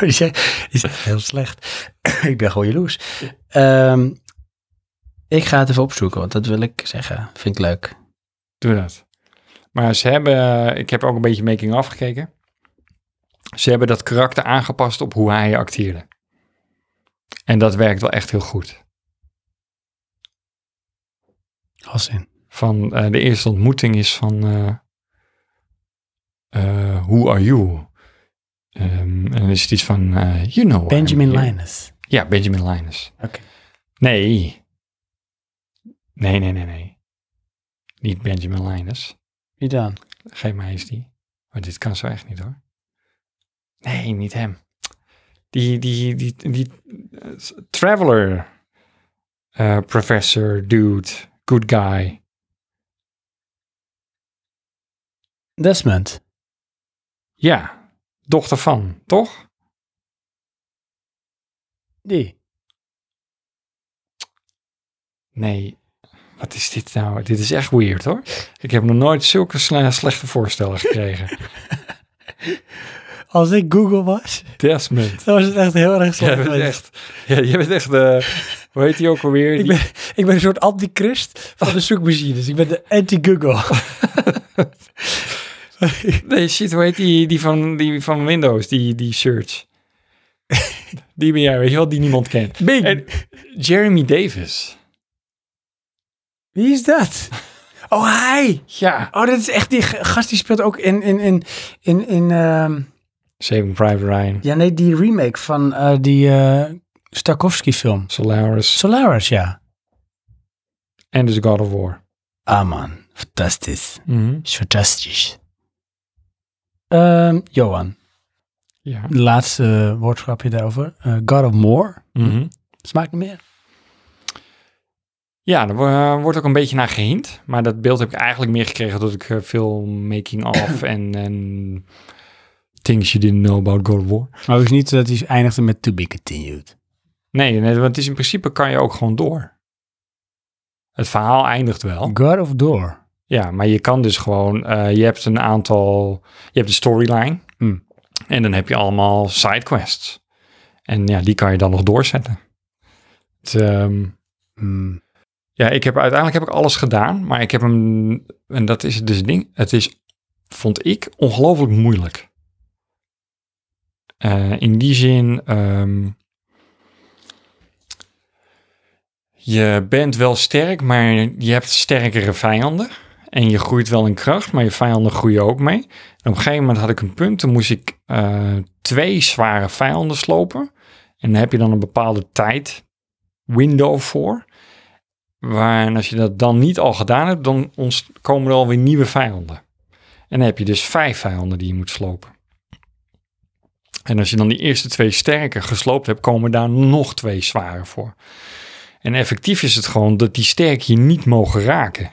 Speaker 1: die zei- die [laughs] is echt heel slecht. [clears throat] ik ben gewoon jaloers. Ehm,
Speaker 3: Ik ga het even opzoeken, want dat wil ik zeggen. Vind ik leuk.
Speaker 2: Doe dat. Maar ze hebben, ik heb ook een beetje making of gekeken. Ze hebben dat karakter aangepast op hoe hij acteerde. En dat werkt wel echt heel goed.
Speaker 1: als in.
Speaker 2: Van eh, de eerste ontmoeting is van eh eh, Who are you? Ehm, en dan is het iets van eh, You know. why I'm
Speaker 1: Benjamin
Speaker 2: here.
Speaker 1: Linus.
Speaker 2: Ja, Benjamin Linus.
Speaker 1: Oké.
Speaker 2: Nee. Nee, nee, nee, nee. Niet Benjamin Linus.
Speaker 1: Wie dan?
Speaker 2: Geef mij eens die. Maar dit kan zo echt niet hoor. Nee, niet hem. Die, die, die, die, eh, traveler eh, professor, dude, good guy.
Speaker 1: Desmond.
Speaker 2: Ja, dochter van, toch?
Speaker 1: Die.
Speaker 2: Nee, wat is dit nou? Dit is echt weird hoor. Ik heb nog nooit zulke sle- slechte voorstellen gekregen.
Speaker 1: Als ik Google was, [laughs]
Speaker 2: Desmond.
Speaker 1: dan was het echt heel erg
Speaker 2: Jij
Speaker 1: slecht.
Speaker 2: bent
Speaker 1: geweest.
Speaker 2: echt, ja, jij bent echt de, hoe heet die ook [laughs] alweer?
Speaker 1: Ik
Speaker 2: Die-
Speaker 1: ben, ik ben een soort antichrist van de zoekmachines. Ik ben de anti-Google.
Speaker 2: Nee, shit, hoe heet die, die, van, die van Windows, die, die search? [laughs] die ben jij, weet je wel, die niemand kent.
Speaker 1: Bing.
Speaker 2: En Jeremy Davis.
Speaker 1: Wie is dat? Oh, hij.
Speaker 2: Ja.
Speaker 1: Oh, dat is echt die g- gast die speelt ook in... in, in, in, in ehm,
Speaker 2: Saving Private Ryan.
Speaker 1: ja, nee, die remake van eh, die eh Starkovsky film.
Speaker 2: Solaris.
Speaker 1: Solaris, ja.
Speaker 2: En dus God of War.
Speaker 1: Ah man, fantastisch.
Speaker 2: Mhm.
Speaker 1: Is fantastisch. Ehm, Johan,
Speaker 2: Ja.
Speaker 1: laatste eh, woordgrapje daarover. Eh, God of More.
Speaker 2: Mhm.
Speaker 1: Smaakt niet meer.
Speaker 2: Ja, er wo- eh, wordt ook een beetje naar gehind. Maar dat beeld heb ik eigenlijk meer gekregen doordat ik eh, veel [coughs] making-of en, en things you didn't know about God of War.
Speaker 1: Maar is niet dat hij eindigde met To Be Continued.
Speaker 2: Nee, nee, want het is in principe kan je ook gewoon door. Het verhaal eindigt wel.
Speaker 1: God of Door.
Speaker 2: Ja, maar je kan dus gewoon, eh, je hebt een aantal, je hebt de storyline
Speaker 1: Hmm.
Speaker 2: en dan heb je allemaal sidequests. En ja, die kan je dan nog doorzetten. Het, ehm,
Speaker 1: Hmm.
Speaker 2: ja, ik heb, uiteindelijk heb ik alles gedaan, maar ik heb hem, en dat is het dus het ding, het is, vond ik, ongelooflijk moeilijk. Eh, in die zin, ehm, je bent wel sterk, maar je hebt sterkere vijanden. En je groeit wel in kracht, maar je vijanden groeien ook mee. En op een gegeven moment had ik een punt, toen moest ik eh, twee zware vijanden slopen. En daar heb je dan een bepaalde tijd window voor. Waar, en als je dat dan niet al gedaan hebt, dan ons komen er alweer nieuwe vijanden. En dan heb je dus vijf vijanden die je moet slopen. En als je dan die eerste twee sterke gesloopt hebt, komen daar nog twee zware voor. En effectief is het gewoon dat die sterk je niet mogen raken.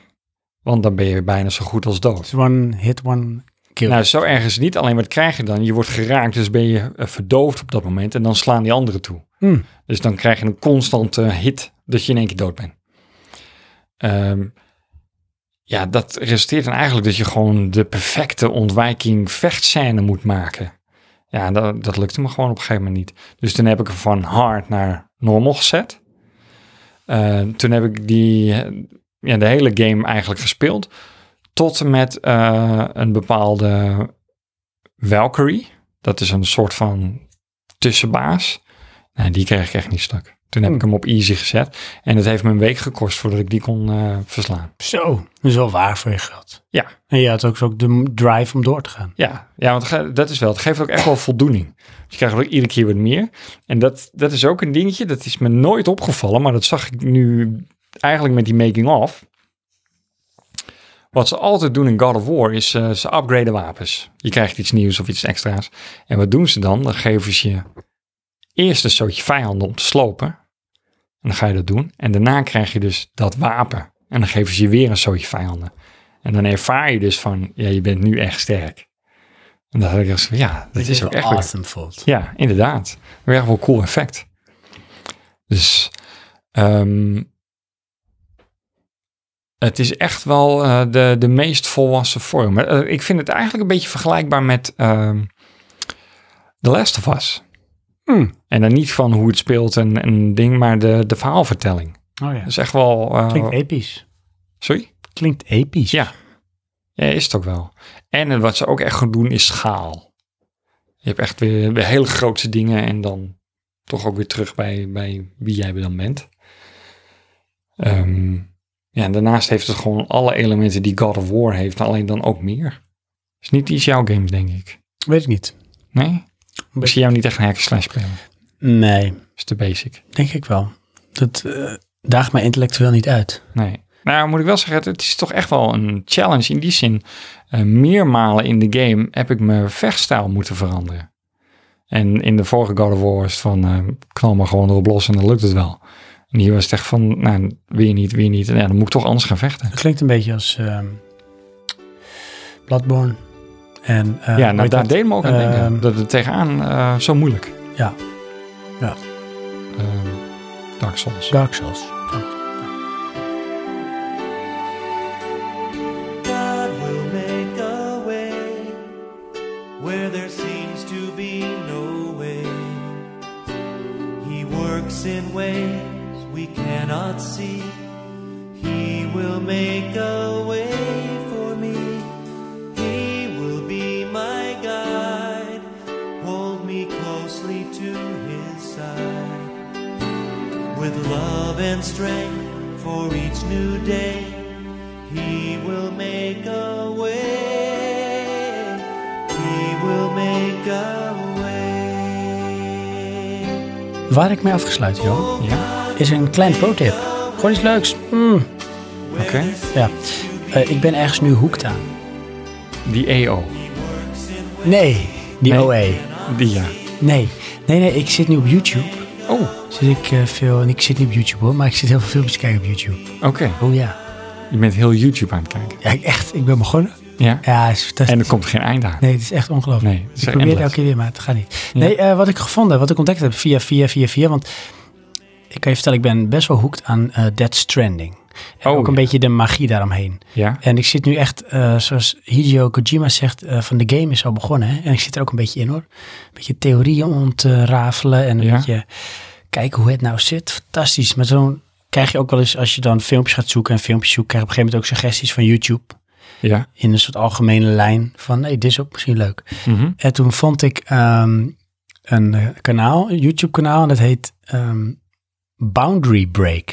Speaker 2: Want dan ben je bijna zo goed als dood.
Speaker 1: It's one hit, one kill.
Speaker 2: Nou, zo erg is het niet. Alleen wat krijg je dan? Je wordt geraakt, dus ben je eh, verdoofd op dat moment. En dan slaan die anderen toe.
Speaker 1: Hmm.
Speaker 2: Dus dan krijg je een constante eh, hit dat je in één keer dood bent. Ehm, ja, dat resulteert dan eigenlijk dat je gewoon de perfecte ontwijking vechtscène moet maken. Ja, dat, dat lukte me gewoon op een gegeven moment niet. Dus toen heb ik hem Ehm, van hard naar normal gezet. Eh, toen heb ik die, ja, de hele game eigenlijk gespeeld. Tot en met eh, een bepaalde Valkyrie. Dat is een soort van tussenbaas. Nou, die kreeg ik echt niet stuk. Toen heb ik hem op easy gezet. En het heeft me een week gekost voordat ik die kon eh, verslaan.
Speaker 1: Zo, dat is wel waar voor je geld.
Speaker 2: Ja.
Speaker 1: En je had ook, zo ook de drive om door te gaan.
Speaker 2: Ja, ja want ge- dat is wel. Het geeft ook echt wel voldoening. Dus je krijgt ook iedere keer wat meer. En dat, dat is ook een dingetje. Dat is me nooit opgevallen. Maar dat zag ik nu eigenlijk met die making-of. Wat ze altijd doen in God of War is eh, ze upgraden wapens. Je krijgt iets nieuws of iets extra's. En wat doen ze dan? Dan geven ze je eerst een soortje vijanden om te slopen. En dan ga je dat doen. En daarna krijg je dus dat wapen. En dan geven ze je weer een soortje vijanden. En dan ervaar je dus van, ja, je bent nu echt sterk. En dan had ik echt van, ja, dat is ook echt weer-
Speaker 1: awesome voelt.
Speaker 2: ja, inderdaad. Weer echt wel een cool effect. Dus ehm, het is echt wel eh, de, de meest volwassen vorm. Eh, ik vind het eigenlijk een beetje vergelijkbaar met ehm The Last of Us.
Speaker 1: Hmm.
Speaker 2: En dan niet van hoe het speelt en, en ding, maar de, de verhaalvertelling.
Speaker 1: Oh ja. Oh.
Speaker 2: Dat is echt wel... eh,
Speaker 1: Klinkt episch.
Speaker 2: sorry?
Speaker 1: Klinkt episch.
Speaker 2: Ja. Ja, is het ook wel. En wat ze ook echt goed doen is schaal. Je hebt echt weer, weer hele grote dingen en dan toch ook weer terug bij, bij wie jij dan bent. Ehm, ja, en daarnaast heeft het gewoon alle elementen die God of War heeft, alleen dan ook meer. Is niet iets jouw games, denk ik.
Speaker 1: Weet ik niet.
Speaker 2: Nee? Ik zie jou niet echt een hack and slash spelen.
Speaker 1: Nee,
Speaker 2: Is te basic.
Speaker 1: denk ik wel. Dat eh, daagt mij intellectueel niet uit.
Speaker 2: Nee. Nou, moet ik wel zeggen, het- het is toch echt wel een challenge. In die zin, eh, meermalen in de game heb ik mijn vechtstijl moeten veranderen. En in de vorige God of War was het van, eh, knal maar gewoon erop los en dan lukt het wel. En hier was het echt van, nou, weer niet, weer niet. En ja, dan moet ik toch anders gaan vechten.
Speaker 1: Het klinkt een beetje als ehm Bloodborne. En, eh,
Speaker 2: ja, nou,
Speaker 1: weet
Speaker 2: daar
Speaker 1: dat?
Speaker 2: deed me ook aan denken.
Speaker 1: Ehm,
Speaker 2: Dat het tegenaan eh, zo moeilijk.
Speaker 1: Ja. Ja.
Speaker 2: Ehm, Dark Souls.
Speaker 1: Dark Souls.
Speaker 5: God will make a way where there seems to be no way. He works in ways we cannot see. He will make a way for me. He will be my guide. Hold me closely to his side with love and strength for each new day. He will make a way. He will make a way.
Speaker 1: Waar ik mee afgesluit, Johan,
Speaker 2: Ja,
Speaker 1: is een klein pro-tip. Gewoon iets leuks. Mm,
Speaker 2: oké.
Speaker 1: Ja. Eh, ik ben ergens nu hoekt aan.
Speaker 2: Die EO.
Speaker 1: Nee, die
Speaker 2: Nee.
Speaker 1: OE.
Speaker 2: Die ja.
Speaker 1: Nee. nee, nee, ik zit nu op YouTube.
Speaker 2: Oh,
Speaker 1: Zit ik eh, veel, en ik zit niet op YouTube hoor, maar ik zit heel veel filmpjes kijken op YouTube.
Speaker 2: oké.
Speaker 1: Oh ja.
Speaker 2: Je bent heel YouTube aan het kijken.
Speaker 1: Ja, ik- echt, ik ben begonnen.
Speaker 2: Ja.
Speaker 1: Ja, het is fantastisch.
Speaker 2: En er komt geen eind aan.
Speaker 1: Nee, het is echt ongelooflijk.
Speaker 2: Nee, het is
Speaker 1: ik probeer het
Speaker 2: endless.
Speaker 1: elke keer weer, maar het gaat niet. Nee, eh, wat ik gevonden heb, wat ik ontdekt heb via, via, via, via, want ik kan je vertellen, ik ben best wel hoekt aan eh Dead Stranding. En
Speaker 2: Oh,
Speaker 1: ook een
Speaker 2: ja.
Speaker 1: beetje de magie daaromheen.
Speaker 2: Ja.
Speaker 1: En ik zit nu echt, eh, zoals Hideo Kojima zegt, eh, van de game is al begonnen. Hè? En ik zit er ook een beetje in hoor. Een beetje theorieën om te rafelen en een
Speaker 2: Ja.
Speaker 1: beetje kijken hoe het nou zit. Fantastisch. Maar zo'n krijg je ook wel eens, als je dan filmpjes gaat zoeken en filmpjes zoekt, krijg je op een gegeven moment ook suggesties van YouTube.
Speaker 2: Ja.
Speaker 1: In een soort algemene lijn van, hey, dit is ook misschien leuk.
Speaker 2: Mhm.
Speaker 1: En toen vond ik ehm, een eh, kanaal, een YouTube kanaal, en dat heet ehm, Boundary Break.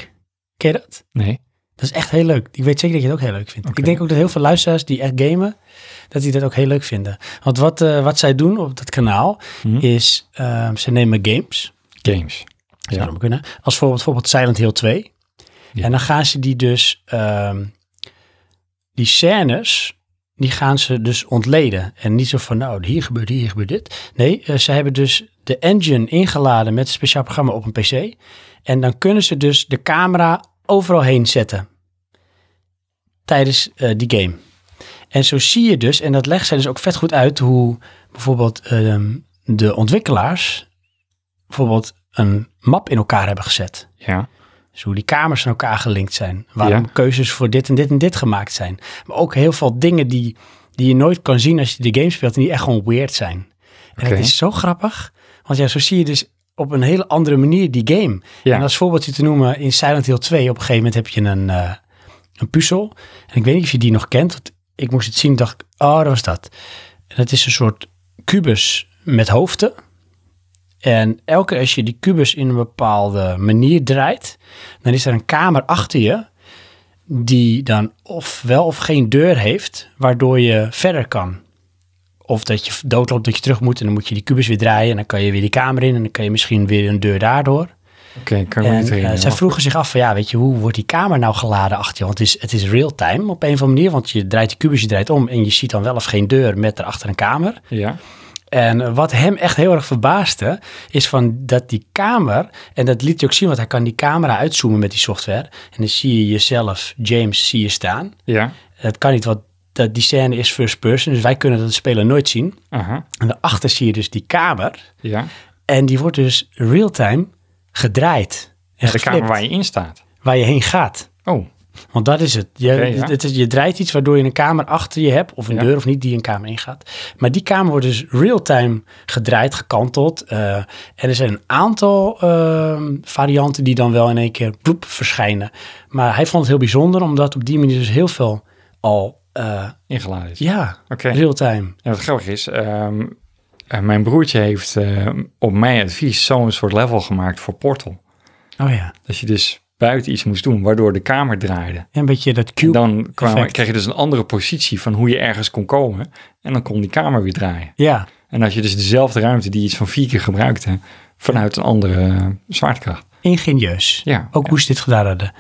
Speaker 1: Ken je dat?
Speaker 2: Nee.
Speaker 1: Dat is echt heel leuk. Ik weet zeker dat je het ook heel leuk vindt.
Speaker 2: Oké.
Speaker 1: Ik denk ook dat heel veel luisteraars die echt gamen, dat die dat ook heel leuk vinden. Want wat, eh, wat zij doen op dat kanaal
Speaker 2: Mhm.
Speaker 1: is, ehm, ze nemen games,
Speaker 2: Games.
Speaker 1: zou
Speaker 2: Ja.
Speaker 1: dat maar kunnen, als bijvoorbeeld, bijvoorbeeld Silent Hill 2.
Speaker 2: Ja.
Speaker 1: En dan gaan ze die dus, ehm, die scènes, die gaan ze dus ontleden. En niet zo van, nou, hier gebeurt hier, hier gebeurt dit. Nee, eh, ze hebben dus de engine ingeladen met een speciaal programma op een pc. En dan kunnen ze dus de camera overal heen zetten tijdens eh, die game. En zo zie je dus, en dat legt zij dus ook vet goed uit, hoe bijvoorbeeld ehm, de ontwikkelaars bijvoorbeeld een map in elkaar hebben gezet.
Speaker 2: Ja.
Speaker 1: Dus hoe die kamers aan elkaar gelinkt zijn. Waarom
Speaker 2: Ja.
Speaker 1: keuzes voor dit en dit en dit gemaakt zijn. Maar ook heel veel dingen die, die je nooit kan zien als je de game speelt. En die echt gewoon weird zijn. En
Speaker 2: Oké.
Speaker 1: het is zo grappig. Want ja, zo zie je dus op een hele andere manier die game.
Speaker 2: Ja.
Speaker 1: En als voorbeeldje te noemen in Silent Hill 2. Op een gegeven moment heb je een, eh, een puzzel. En ik weet niet of je die nog kent. Want ik moest het zien dacht ik, oh, dat was dat. En het is een soort kubus met hoofden. En elke keer als je die kubus in een bepaalde manier draait, dan is er een kamer achter je die dan of wel of geen deur heeft, waardoor je verder kan. Of dat je doodloopt, dat je terug moet en dan moet je die kubus weer draaien en dan kan je weer die kamer in en dan kan je misschien weer een deur daardoor.
Speaker 2: Oké, kan ik
Speaker 1: En
Speaker 2: me niet
Speaker 1: eh,
Speaker 2: herinneren.
Speaker 1: zij
Speaker 2: maar
Speaker 1: vroegen zich af van ja, weet je, hoe wordt die kamer nou geladen achter je? Want het is, het is real-time op een of andere manier, want je draait die kubus, je draait om en je ziet dan wel of geen deur met erachter een kamer.
Speaker 2: goed. Ja,
Speaker 1: En eh, wat hem echt heel erg verbaasde, is van dat die kamer, en dat liet hij ook zien, want hij kan die camera uitzoomen met die software. En dan zie je jezelf, James, zie je staan.
Speaker 2: ja.
Speaker 1: Dat kan niet, want dat, die scène is first person, dus wij kunnen dat als speler nooit zien.
Speaker 2: Aha,
Speaker 1: En daarachter zie je dus die kamer,
Speaker 2: ja.
Speaker 1: en die wordt dus real-time gedraaid. En
Speaker 2: De kamer
Speaker 1: geflipt,
Speaker 2: waar je in staat.
Speaker 1: waar je heen gaat.
Speaker 2: Oh,
Speaker 1: Want dat is het. Je,
Speaker 2: Oké, ja.
Speaker 1: het is- je draait iets waardoor je een kamer achter je hebt, of een
Speaker 2: Ja.
Speaker 1: deur of niet, die een kamer ingaat. Maar die kamer wordt dus real-time gedraaid, gekanteld. eh, en er zijn een aantal ehm, varianten die dan wel in één keer bloep verschijnen. Maar hij vond het heel bijzonder, omdat op die manier dus heel veel al, eh,
Speaker 2: ingeladen is.
Speaker 1: ja,
Speaker 2: Oké.
Speaker 1: real-time.
Speaker 2: En wat grappig is, ehm, eh, mijn broertje heeft ehm, op mijn advies zo'n soort level gemaakt voor Portal.
Speaker 1: Oh ja.
Speaker 2: Dat je dus buiten iets moest doen, waardoor de kamer draaide.
Speaker 1: Een beetje dat
Speaker 2: En
Speaker 1: cube.
Speaker 2: dan kwam,
Speaker 1: effect.
Speaker 2: kreeg je dus een andere positie van hoe je ergens kon komen. En dan kon die kamer weer draaien.
Speaker 1: Ja,
Speaker 2: En als je dus dezelfde ruimte die je iets van vier keer gebruikte, vanuit een andere eh, zwaartekracht.
Speaker 1: ingenieus.
Speaker 2: Ja,
Speaker 1: Ook hoe ze dit gedaan hadden.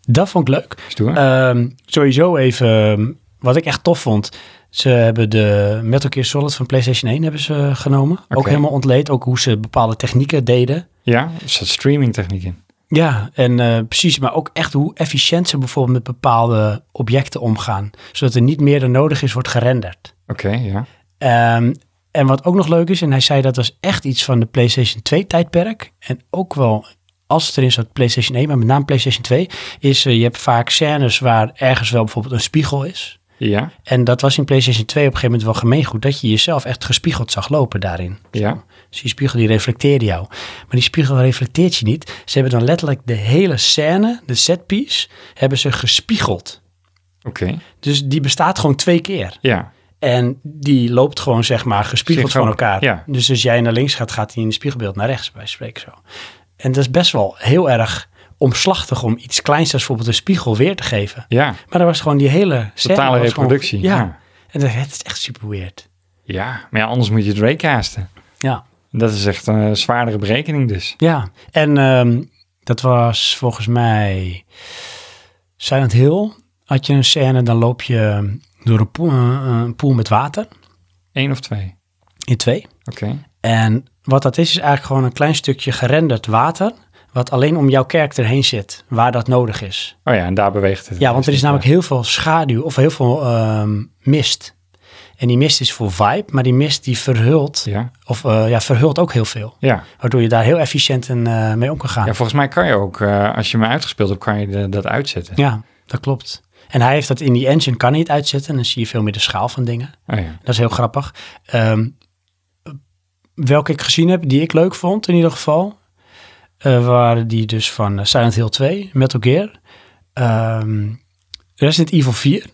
Speaker 1: Dat vond ik leuk.
Speaker 2: Stoer.
Speaker 1: Ehm, sowieso even, ehm, wat ik echt tof vond. Ze hebben de Metal Gear Solid van PlayStation 1 hebben ze genomen. Ook
Speaker 2: Oké.
Speaker 1: helemaal ontleed. Ook hoe ze bepaalde technieken deden.
Speaker 2: ja, er zat streaming techniek in.
Speaker 1: Ja, en eh, precies. Maar ook echt hoe efficiënt ze bijvoorbeeld met bepaalde objecten omgaan. Zodat er niet meer dan nodig is wordt gerenderd.
Speaker 2: Oké, ja.
Speaker 1: Ehm, en wat ook nog leuk is, en hij zei dat was echt iets van de PlayStation 2 tijdperk. En ook wel, als het erin zat, PlayStation 1, maar met name PlayStation 2. Is eh, je hebt vaak scènes waar ergens wel bijvoorbeeld een spiegel is.
Speaker 2: Ja,
Speaker 1: En dat was in PlayStation 2 op een gegeven moment wel gemeengoed. Dat je jezelf echt gespiegeld zag lopen daarin.
Speaker 2: ja.
Speaker 1: Dus die spiegel die reflecteerde jou. Maar die spiegel reflecteert je niet. Ze hebben dan letterlijk de hele scène, de setpiece, hebben ze gespiegeld.
Speaker 2: Oké,
Speaker 1: Dus die bestaat gewoon twee keer.
Speaker 2: ja.
Speaker 1: En die loopt gewoon, zeg maar, gespiegeld van
Speaker 2: Synchroon,
Speaker 1: elkaar.
Speaker 2: ja.
Speaker 1: Dus als jij naar links gaat, gaat hij in het spiegelbeeld naar rechts, bij spreken zo. En dat is best wel heel erg omslachtig om iets kleins als bijvoorbeeld een spiegel weer te geven.
Speaker 2: Ja,
Speaker 1: Maar dat was gewoon die hele scène.
Speaker 2: Totale
Speaker 1: was gewoon-
Speaker 2: reproductie, ja.
Speaker 1: ja. En dat, het is echt super weird.
Speaker 2: ja. Maar ja, anders moet je het raycasten.
Speaker 1: Ja,
Speaker 2: Dat is echt een zwaardere berekening dus.
Speaker 1: ja. En ehm, dat was volgens mij Silent Hill. Had je een scène, dan loop je door een poel, eh, een poel met water
Speaker 2: Eén of twee?
Speaker 1: in twee.
Speaker 2: Oké.
Speaker 1: En wat dat is, is eigenlijk gewoon een klein stukje gerenderd water, wat alleen om jouw karakter heen zit, waar dat nodig is.
Speaker 2: Oh ja, en daar beweegt het. Dus
Speaker 1: Ja, want er is namelijk heel veel schaduw of heel veel ehm, mist. En die mist is voor vibe, maar die mist die verhult,
Speaker 2: Ja,
Speaker 1: of eh, ja, verhult ook heel veel.
Speaker 2: ja.
Speaker 1: Waardoor je daar heel efficiënt en, eh, mee om kan gaan.
Speaker 2: ja
Speaker 1: Ja.
Speaker 2: volgens mij kan je ook, eh, als je me uitgespeeld hebt, kan je de- dat uitzetten.
Speaker 1: dat klopt. En hij heeft dat in die engine, kan hij het uitzetten. En dan zie je veel meer de schaal van dingen.
Speaker 2: Oh ja.
Speaker 1: Dat is heel grappig. Ehm, welke ik gezien heb, die ik leuk vond in ieder geval, eh, waren die dus van eh, Silent Hill 2, Metal Gear, ehm, Resident Evil 4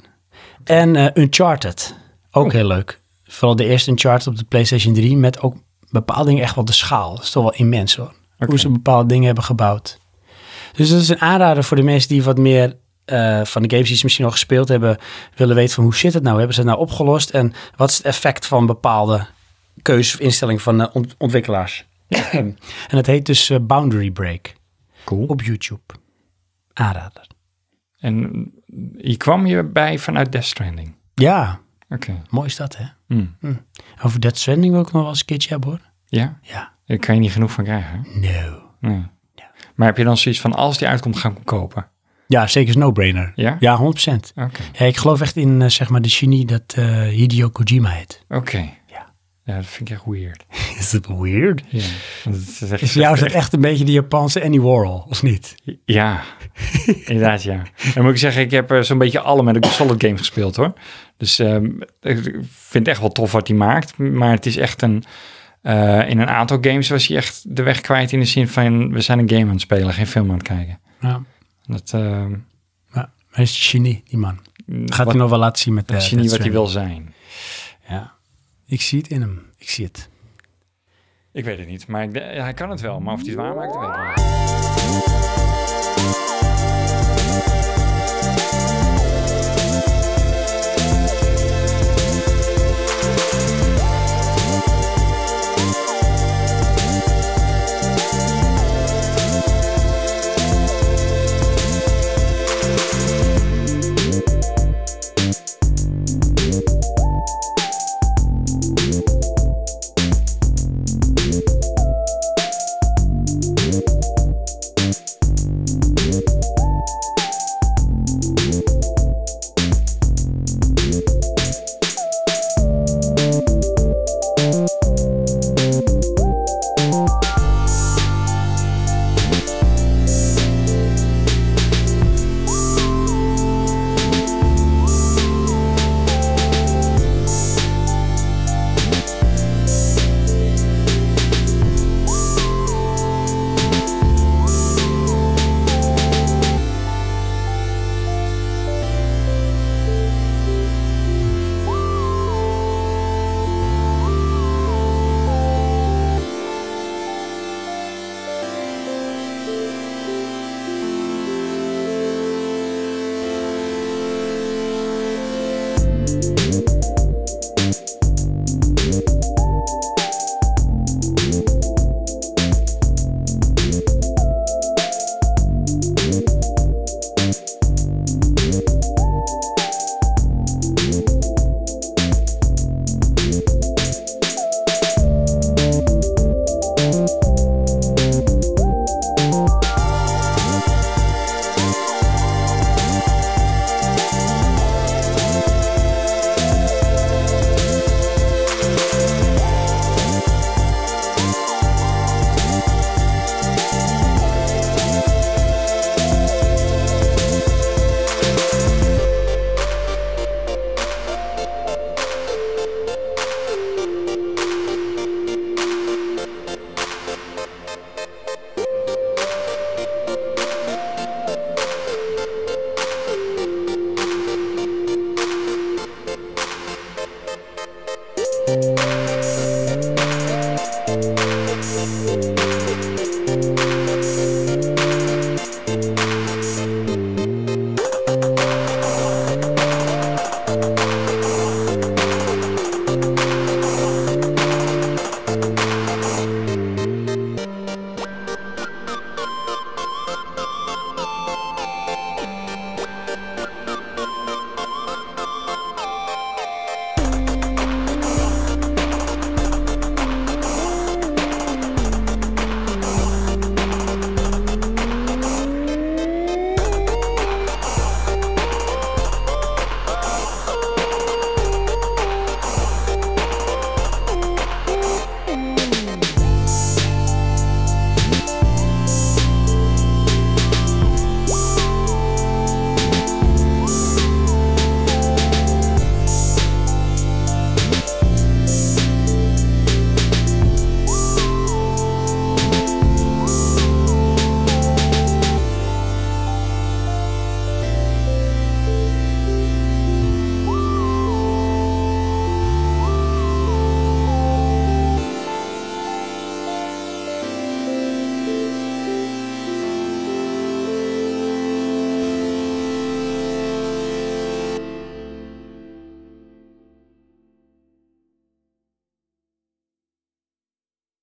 Speaker 1: en eh, Uncharted. Ook heel leuk. Vooral de eerste Uncharted op de PlayStation 3 met ook bepaalde dingen echt wel de schaal. Dat is toch wel immens hoor. Hoe ze bepaalde dingen hebben gebouwd. Dus dat is een aanrader voor de mensen die wat meer eh, van de games die ze misschien al gespeeld hebben, willen weten van hoe zit het nou? Hebben ze het nou opgelost? En wat is het effect van bepaalde keuze of instelling van eh, ont- ontwikkelaars. [clears throat] en het heet dus eh, Boundary Break
Speaker 2: Cool.
Speaker 1: op YouTube. Aanrader.
Speaker 2: En je kwam hierbij vanuit Death Stranding.
Speaker 1: Ja,
Speaker 2: Oké.
Speaker 1: mooi is dat hè.
Speaker 2: Hmm.
Speaker 1: Over Dead Stranding wil ik nog wel eens een keertje hebben hoor.
Speaker 2: Ja?
Speaker 1: Ja.
Speaker 2: Daar kan je niet genoeg van krijgen. hè?
Speaker 1: No.
Speaker 2: Nee. Maar heb je dan zoiets van, als die uitkomt, ga ik hem kopen?
Speaker 1: Ja, zeker is een no-brainer.
Speaker 2: Ja?
Speaker 1: Ja, 100%.
Speaker 2: Oké.
Speaker 1: Ja, ik geloof echt in eh, zeg maar de genie dat eh, Hideo Kojima heet. [laughs]
Speaker 2: Oké.
Speaker 1: Ja.
Speaker 2: Ja, dat vind ik echt weird.
Speaker 1: Is dat weird? [laughs]
Speaker 2: Ja. Dat is echt,
Speaker 1: Is voor jou is dat echt een beetje de Japanse Annie Warhol, of niet? [laughs]
Speaker 2: Ja, inderdaad ja. En moet ik zeggen, ik heb eh, zo'n beetje alle met een solid game gespeeld hoor. Dus ehm, ik vind het echt wel tof wat hij maakt. Maar het is echt een... eh, in een aantal games was hij echt de weg kwijt in de zin van... we zijn een game aan het spelen, geen film aan het kijken.
Speaker 1: Ja.
Speaker 2: Dat, ehm,
Speaker 1: Ja, Hij is een genie, die man. Gaat
Speaker 2: Mm, wat,
Speaker 1: hij nog wel laten zien met de
Speaker 2: het genie wat hij wil zijn.
Speaker 1: Ja. Ik zie het in hem. Ik zie het.
Speaker 2: Ik weet het niet, maar ik, de- ja, hij kan het wel. Maar of hij het waarmaakt, weet ik niet.